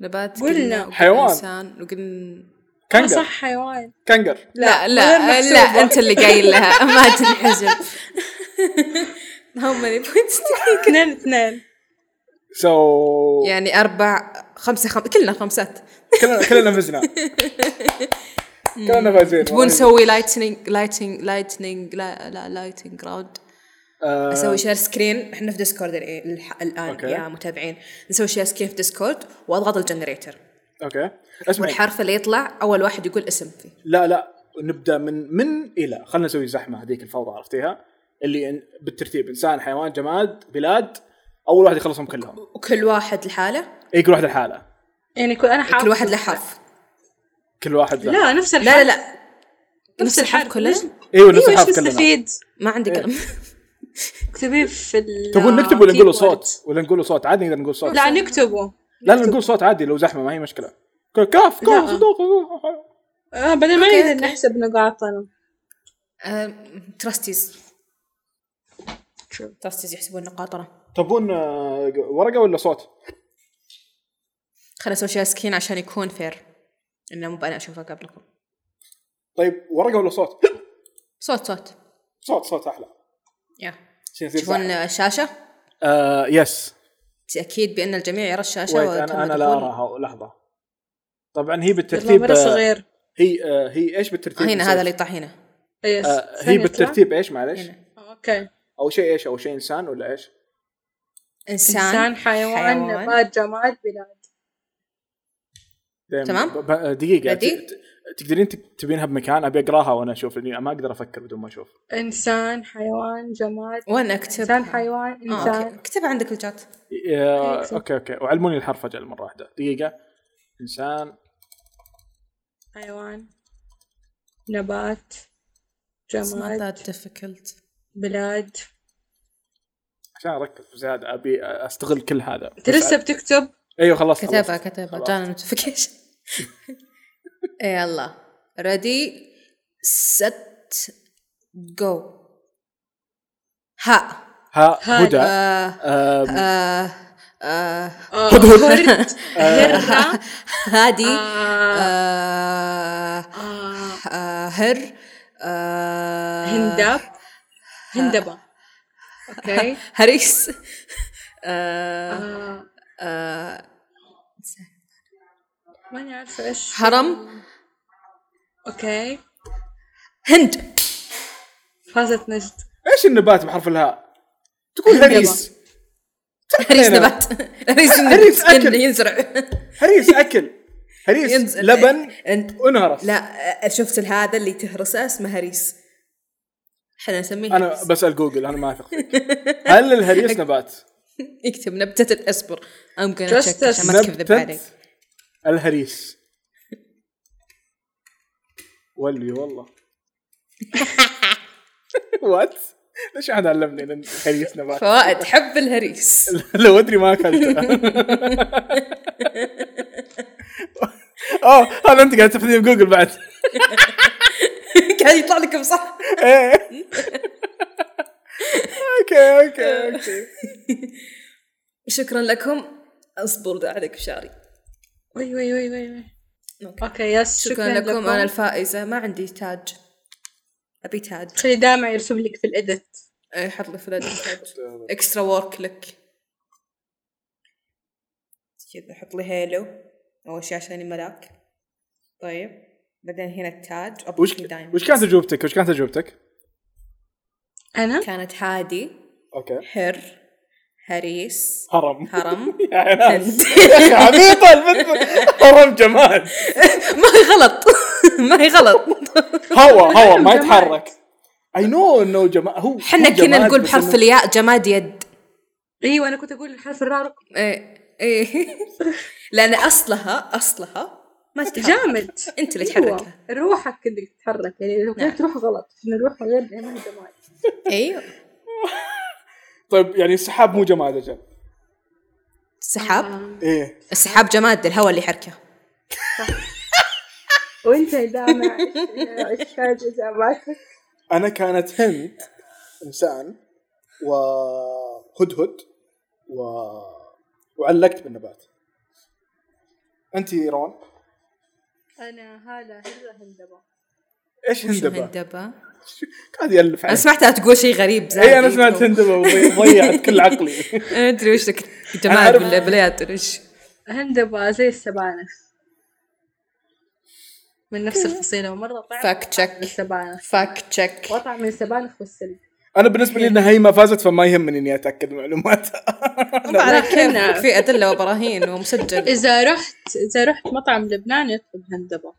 Speaker 1: نبات
Speaker 3: قلنا.
Speaker 2: حيوان.
Speaker 1: انسان وقلنا
Speaker 3: ما
Speaker 2: كنجر
Speaker 3: صح حيوان
Speaker 2: كنجر
Speaker 1: لا
Speaker 3: غير
Speaker 1: لا
Speaker 3: محسوبة.
Speaker 1: لا انت اللي قايل لها (laughs) ما
Speaker 3: (laughs)
Speaker 1: تنحسب هاو ماني بوينتس
Speaker 3: اثنين اثنين
Speaker 2: سو
Speaker 1: يعني اربع خمسه خمسه كلنا خمسات
Speaker 2: كلنا كلنا
Speaker 3: (laughs)
Speaker 2: فزنا كلنا فايزين
Speaker 1: تبون نسوي لايتنينج لايتنج لايتنينج لا لا لايتنج راوند
Speaker 2: آه،
Speaker 1: نسوي شير سكرين احنا في ديسكورد الآن- الح- الان
Speaker 2: أوكي.
Speaker 1: يا متابعين نسوي شير سكرين في ديسكورد واضغط الجنريتر
Speaker 2: طيب. اوكي اسمعي
Speaker 1: والحرف اللي يطلع اول واحد يقول اسم فيه
Speaker 2: لا لا نبدا من من الى خلينا نسوي زحمه هذيك الفوضى عرفتيها اللي إن- بالترتيب انسان حيوان جماد بلاد اول واحد يخلصهم كلهم
Speaker 1: وكل واحد لحاله
Speaker 2: اي كل واحد لحاله
Speaker 3: يعني كل انا حافظ
Speaker 1: كل واحد له حرف
Speaker 2: كل واحد له.
Speaker 3: لا نفس
Speaker 1: لا
Speaker 3: الحرف
Speaker 1: لا لا نفس
Speaker 3: نفس
Speaker 1: الحرف
Speaker 3: الحرف
Speaker 1: كلنا
Speaker 2: ايوه نفس
Speaker 3: ايوه ايش
Speaker 2: الحرف كلنا
Speaker 3: مستفيد
Speaker 1: ما عندي
Speaker 2: إيه.
Speaker 1: كلام
Speaker 3: اكتبيه في ال
Speaker 2: تبون نكتب ولا نقول
Speaker 3: keyboard.
Speaker 2: صوت ولا نقول صوت عادي نقدر نقول صوت
Speaker 3: لا نكتبه
Speaker 2: لا لا نقول صوت عادي لو زحمه ما هي مشكله كل- كاف
Speaker 3: لا.
Speaker 2: كاف صدوق صدوق.
Speaker 3: آه بعدين ما
Speaker 1: أوكي،
Speaker 3: نقدر
Speaker 1: أوكي.
Speaker 3: نحسب نقاطنا
Speaker 1: آه، تراستيز تراستيز يحسبون نقاطنا
Speaker 2: تبون آه، ورقه ولا صوت؟
Speaker 1: خلنا نسوي شير سكرين عشان يكون فير انه مو انا اشوفها قبلكم
Speaker 2: طيب ورقه ولا صوت؟
Speaker 1: صوت صوت
Speaker 2: صوت صوت احلى
Speaker 1: يا
Speaker 2: عشان يصير
Speaker 1: تشوفون
Speaker 2: زحمة.
Speaker 1: الشاشه
Speaker 2: آه يس
Speaker 1: تاكيد بان الجميع يرى الشاشه
Speaker 2: ويت انا
Speaker 1: وتم
Speaker 2: انا لا
Speaker 1: دخول-
Speaker 2: اراها لحظه طبعا هي
Speaker 3: يلا
Speaker 2: بالترتيب آه،
Speaker 3: مرة صغير
Speaker 2: هي آه، هي ايش بالترتيب؟
Speaker 1: هنا هذا اللي يطلع هنا
Speaker 3: يس
Speaker 2: آه،
Speaker 3: ثانية
Speaker 2: هي
Speaker 3: طلع.
Speaker 2: بالترتيب ايش معلش؟
Speaker 1: هنا
Speaker 3: اوكي
Speaker 2: اول شيء ايش؟ اول شيء انسان ولا ايش؟
Speaker 1: انسان,
Speaker 3: انسان حيوان نبات جماد بلاد
Speaker 2: دايماً.
Speaker 1: تمام.
Speaker 2: ب- ب- دقيقه ت-
Speaker 1: بدي؟
Speaker 2: ت- تقدرين تك- تبينها بمكان ابي اقراها وانا اشوف لاني ما اقدر افكر بدون ما اشوف
Speaker 3: انسان حيوان جماد
Speaker 1: وين اكتب؟
Speaker 3: انسان حيوان
Speaker 1: آه،
Speaker 3: انسان
Speaker 1: أوكي. اكتب عندك الجات إيه،
Speaker 2: آه،
Speaker 3: أوكي.
Speaker 2: اوكي اوكي وعلموني الحرف اجل مره واحده دقيقه انسان
Speaker 3: حيوان نبات
Speaker 1: It's not
Speaker 3: جماد
Speaker 1: that difficult
Speaker 3: بلاد
Speaker 2: عشان اركز بزياده ابي استغل كل هذا
Speaker 3: انت لسه بتكتب
Speaker 2: ايوه خلاص
Speaker 1: كتبها
Speaker 2: خلصت.
Speaker 1: كتبها
Speaker 2: خلاص.
Speaker 1: جانا نوتيفيكيشن (laughs) يلا ريدي ست جو
Speaker 2: (laughs)
Speaker 1: ها
Speaker 2: ها
Speaker 3: هاد.
Speaker 2: هدى
Speaker 1: آه،
Speaker 2: آم،
Speaker 1: آه، آه،
Speaker 3: آه،
Speaker 2: خذ هدى.
Speaker 1: (laughs)
Speaker 3: هرد هرة
Speaker 1: هادي
Speaker 3: آه،
Speaker 1: آه،
Speaker 3: آه،
Speaker 1: آه، هر آه،
Speaker 3: هندب هندبة اوكي
Speaker 1: هريس آه،
Speaker 3: آه،
Speaker 1: آه،
Speaker 3: ماني عارفة ايش
Speaker 1: هرم
Speaker 3: اوكي
Speaker 1: هند
Speaker 3: فازت نجد
Speaker 2: ايش النبات بحرف الهاء؟ تقول
Speaker 1: (laughs)
Speaker 2: هريس
Speaker 1: هريس نبات
Speaker 2: (laughs)
Speaker 1: هريس
Speaker 2: هريس أكل.
Speaker 1: ينزرع
Speaker 2: هريس اكل هريس
Speaker 1: ينزل-
Speaker 2: لبن
Speaker 1: انت
Speaker 2: ونهرس
Speaker 1: لا آه، شفت هذا اللي تهرسه اسمه هريس احنا نسميه
Speaker 2: انا
Speaker 1: هريس.
Speaker 2: بسال جوجل انا ما اثق فيك هل
Speaker 1: (laughs)
Speaker 2: الهريس نبات؟
Speaker 1: يكتب نبتة اصبر ام gonna
Speaker 3: Just
Speaker 1: check عشان ما تكذب
Speaker 2: نبتة
Speaker 1: عليك
Speaker 2: الهريس ولي والله وات؟ ليش احد علمني ان الهريس نبات؟ (laughs)
Speaker 1: فوائد حب الهريس (laughs)
Speaker 2: لو ادري ما اكلته اوه هذا انت قاعد تفتح جوجل بعد
Speaker 1: قاعد يطلع لك بصح
Speaker 2: ايه اوكي اوكي اوكي
Speaker 1: شكرا لكم اصبر ده عليك بشعري
Speaker 3: وي وي وي وي وي.
Speaker 1: أوكي.
Speaker 3: اوكي يس
Speaker 1: شكرا لكم انا الفائزه ما عندي تاج ابي تاج
Speaker 3: خلي دامع يرسم لك في الإدت
Speaker 1: إيه، حط
Speaker 2: (coughs)
Speaker 1: لي فلان تاج اكسترا وورك لك كذا حط لي هيلو اول شيء عشان الملاك طيب بعدين هنا التاج أبو
Speaker 2: وش
Speaker 1: لي دايموند.
Speaker 2: وش كانت تجربتك؟ وش كانت تجربتك؟
Speaker 3: أنا
Speaker 1: كانت هادي
Speaker 2: اوكي
Speaker 1: حر
Speaker 2: (laughs)
Speaker 1: هريس
Speaker 2: هرم
Speaker 1: هرم
Speaker 2: يا ناس
Speaker 1: هند.
Speaker 2: يا أخي عبيطه البنت هرم جمال
Speaker 1: ما هي غلط (laughs) ما هي غلط
Speaker 2: هوا هوا ما
Speaker 3: جماد.
Speaker 2: يتحرك اي نو انه جمال هو
Speaker 1: احنا
Speaker 2: هو
Speaker 1: كنا
Speaker 2: جماد،
Speaker 1: نقول
Speaker 2: بس
Speaker 1: بحرف
Speaker 2: إنه-
Speaker 1: الياء جماد يد
Speaker 3: أيوة أنا كنت أقول حرف الراء
Speaker 1: ايه
Speaker 2: (laughs)
Speaker 1: ايه لان اصلها اصلها ما تتحرك
Speaker 3: جامد
Speaker 1: انت اللي نعم.
Speaker 3: أيوة،
Speaker 1: تحركها
Speaker 3: روحك اللي تتحرك يعني لو كانت روح غلط احنا نروح غير ما هي جمال
Speaker 1: ايوه
Speaker 2: طيب يعني السحاب مو جماد اجل
Speaker 1: السحاب
Speaker 2: ايه
Speaker 1: السحاب جماد الهواء اللي يحركه
Speaker 3: وانت يا
Speaker 1: (laughs)
Speaker 3: دامع إيش- ايش كانت اجاباتك؟
Speaker 2: انا كانت هند انسان وهدهد و... وعلقت بالنبات انت رون
Speaker 3: انا هاله هره هندبه
Speaker 2: ايش
Speaker 1: شو
Speaker 2: هندبه؟
Speaker 1: هندبة
Speaker 2: (laughs) قاعد يالف
Speaker 1: انا
Speaker 2: عليه
Speaker 1: سمعتها تقول شيء غريب زايد
Speaker 2: اي انا إيه، سمعت هندبه وضي- ضيعت كل عقلي (laughs)
Speaker 1: أنا ادري إيه، وش لك
Speaker 2: أنا
Speaker 1: جماد
Speaker 2: أعرف-
Speaker 1: ولا بلاد ولا ايش
Speaker 3: هندبه زي السبانخ من نفس الفصيله ومره طعم
Speaker 1: فاك
Speaker 3: من
Speaker 1: تشك
Speaker 3: السبانخ
Speaker 1: فاك تشك
Speaker 3: وطعم من السبانخ والسلق
Speaker 2: انا بالنسبه لي انها هي ما فازت فما يهمني اني اتاكد من معلوماتها (laughs)
Speaker 1: ما عليك
Speaker 3: كنا-
Speaker 1: كيف في ادله وبراهين ومسجل
Speaker 3: اذا رحت اذا رحت مطعم لبناني اطلب هندبه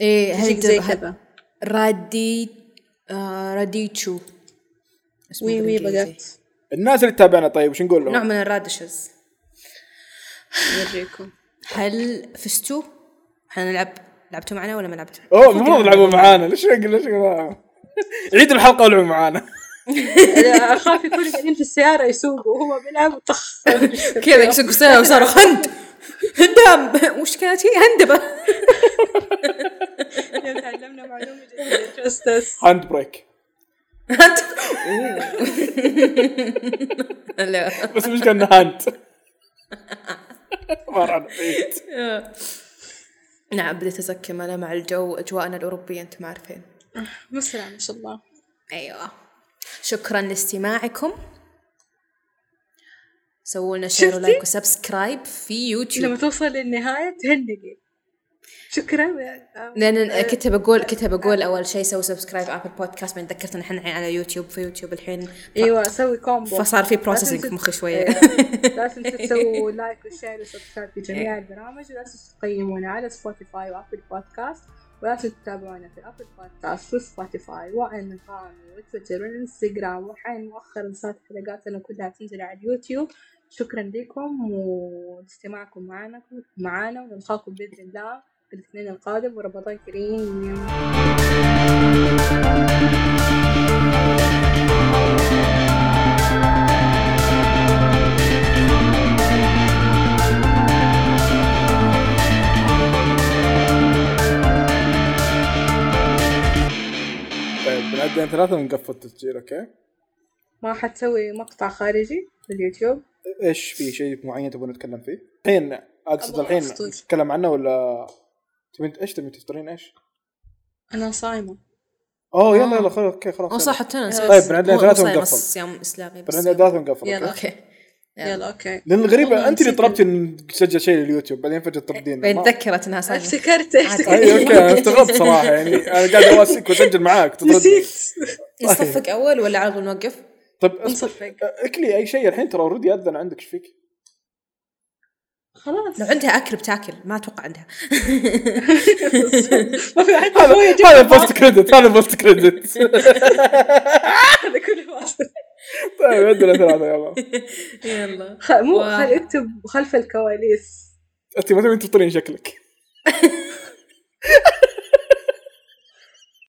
Speaker 1: ايه
Speaker 3: تجيك زي كذا
Speaker 1: رادي آه راديتشو اسمه
Speaker 3: وي وي
Speaker 1: بالإنجليزي.
Speaker 3: بقت
Speaker 2: الناس اللي تتابعنا طيب وش نقول
Speaker 1: نوع
Speaker 2: لهم؟
Speaker 1: من الرادشز
Speaker 3: اوريكم
Speaker 1: هل فزتوا؟ احنا نلعب لعبتوا معنا ولا ما لعبتوا؟
Speaker 2: اوه المفروض يلعبوا معانا ليش نقول- ليش نقول- عيدوا الحلقه والعبوا معانا
Speaker 3: أنا اخاف يكونوا قاعدين في السياره يسوقوا وهو بيلعب طخ
Speaker 1: كذا يسوق سيارة وصاروا هند هندام وش كانت هي (laughs) هندبة
Speaker 3: تعلمنا معلومه جديده استاذ
Speaker 2: هاند بريك
Speaker 1: هند (laughs) لا
Speaker 2: بس مش كان هاند ما راح نعيد.
Speaker 1: نعم بديت أزكم أنا مع الجو أجواءنا الأوروبية أنتم عارفين
Speaker 3: مسرع ما شاء الله
Speaker 1: أيوة شكرا لاستماعكم سووا لنا شير
Speaker 3: شفتي؟
Speaker 1: ولايك وسبسكرايب في
Speaker 3: لما
Speaker 1: يوتيوب
Speaker 3: توصل للنهاية تهنقي شكرا يا-
Speaker 1: لان كنت بقول كنت بقول اول شيء سووا سبسكرايب ابل بودكاست بعدين تذكرت ان احنا على يوتيوب في يوتيوب الحين
Speaker 3: ايوه سوي كومبو
Speaker 1: فصار في
Speaker 3: لا
Speaker 1: processing
Speaker 3: تنسوا-
Speaker 1: في مخي شوية.
Speaker 3: أيوة. لا
Speaker 1: (laughs)
Speaker 3: تنسوا تسووا لايك وشير وسبسكرايب في
Speaker 1: إيه.
Speaker 3: جميع البرامج ولا تنسوا تقيمونا على سبوتيفاي وابل بودكاست ولا تنسوا تتابعونا في ابل بودكاست وسبوتيفاي وانغامي وتويتر والانستغرام وحين مؤخرا صارت حلقاتنا كلها تنزل على اليوتيوب شكرا لكم واستماعكم معنا معنا ونلقاكم باذن الله الاثنين القادم ورمضان كريم
Speaker 2: طيب بنعدين ثلاثة ونقفل التسجيل اوكي؟
Speaker 3: ما حتسوي مقطع خارجي في اليوتيوب
Speaker 2: ايش في شيء معين تبون نتكلم فيه؟ الحين اقصد
Speaker 3: أبغى
Speaker 2: الحين
Speaker 3: أفطر.
Speaker 2: نتكلم عنه ولا تبين ايش تبين تفطرين ايش؟
Speaker 3: انا صايمة
Speaker 2: اوه يلا
Speaker 1: آه.
Speaker 2: يلا خلاص اوكي خلاص
Speaker 1: اه صح حتى انا نسيت
Speaker 2: طيب، بنعد لنا
Speaker 1: مو-
Speaker 2: ثلاثة
Speaker 1: مو صايم،
Speaker 2: ونقفل.
Speaker 1: بس صيام اسلامي بس
Speaker 2: بنعدين ثلاثة ونقفل
Speaker 3: يلا.
Speaker 2: اوكي؟
Speaker 1: اوكي يلا
Speaker 3: يلا اوكي
Speaker 2: لان الغريبة
Speaker 3: والله
Speaker 2: انت اللي
Speaker 3: نسيت
Speaker 2: طلبتي إن نسجل شيء لليوتيوب بعدين فجأة تردين
Speaker 1: بعدين
Speaker 2: ما-
Speaker 1: تذكرت انها صايمه
Speaker 2: (laughs)
Speaker 3: افتكرت
Speaker 2: اي
Speaker 3: افتكرت
Speaker 2: اوكي انا استغربت صراحة يعني انا قاعد اواسيك واسجل معاك تردي
Speaker 3: نسيت
Speaker 1: نصفق اول ولا على طول نوقف؟
Speaker 2: طيب
Speaker 3: نصفق (laughs)
Speaker 2: اكلي اي شيء الحين ترى اوريدي اذن عندك ايش فيك؟
Speaker 3: خلاص
Speaker 1: لو عندها اكل بتاكل ما اتوقع عندها
Speaker 3: (laughs) ما في احد هو
Speaker 2: هذا
Speaker 3: يجيب
Speaker 2: هذا
Speaker 3: الباص.
Speaker 2: بوست كريدت هذا بوست كريدت
Speaker 3: هذا كله باص.
Speaker 2: (laughs) طيب عندنا ثلاثة يلا
Speaker 1: يلا
Speaker 3: خ- مو
Speaker 1: واو.
Speaker 3: خل اكتب خلف الكواليس
Speaker 2: انت ما تبين تفطرين شكلك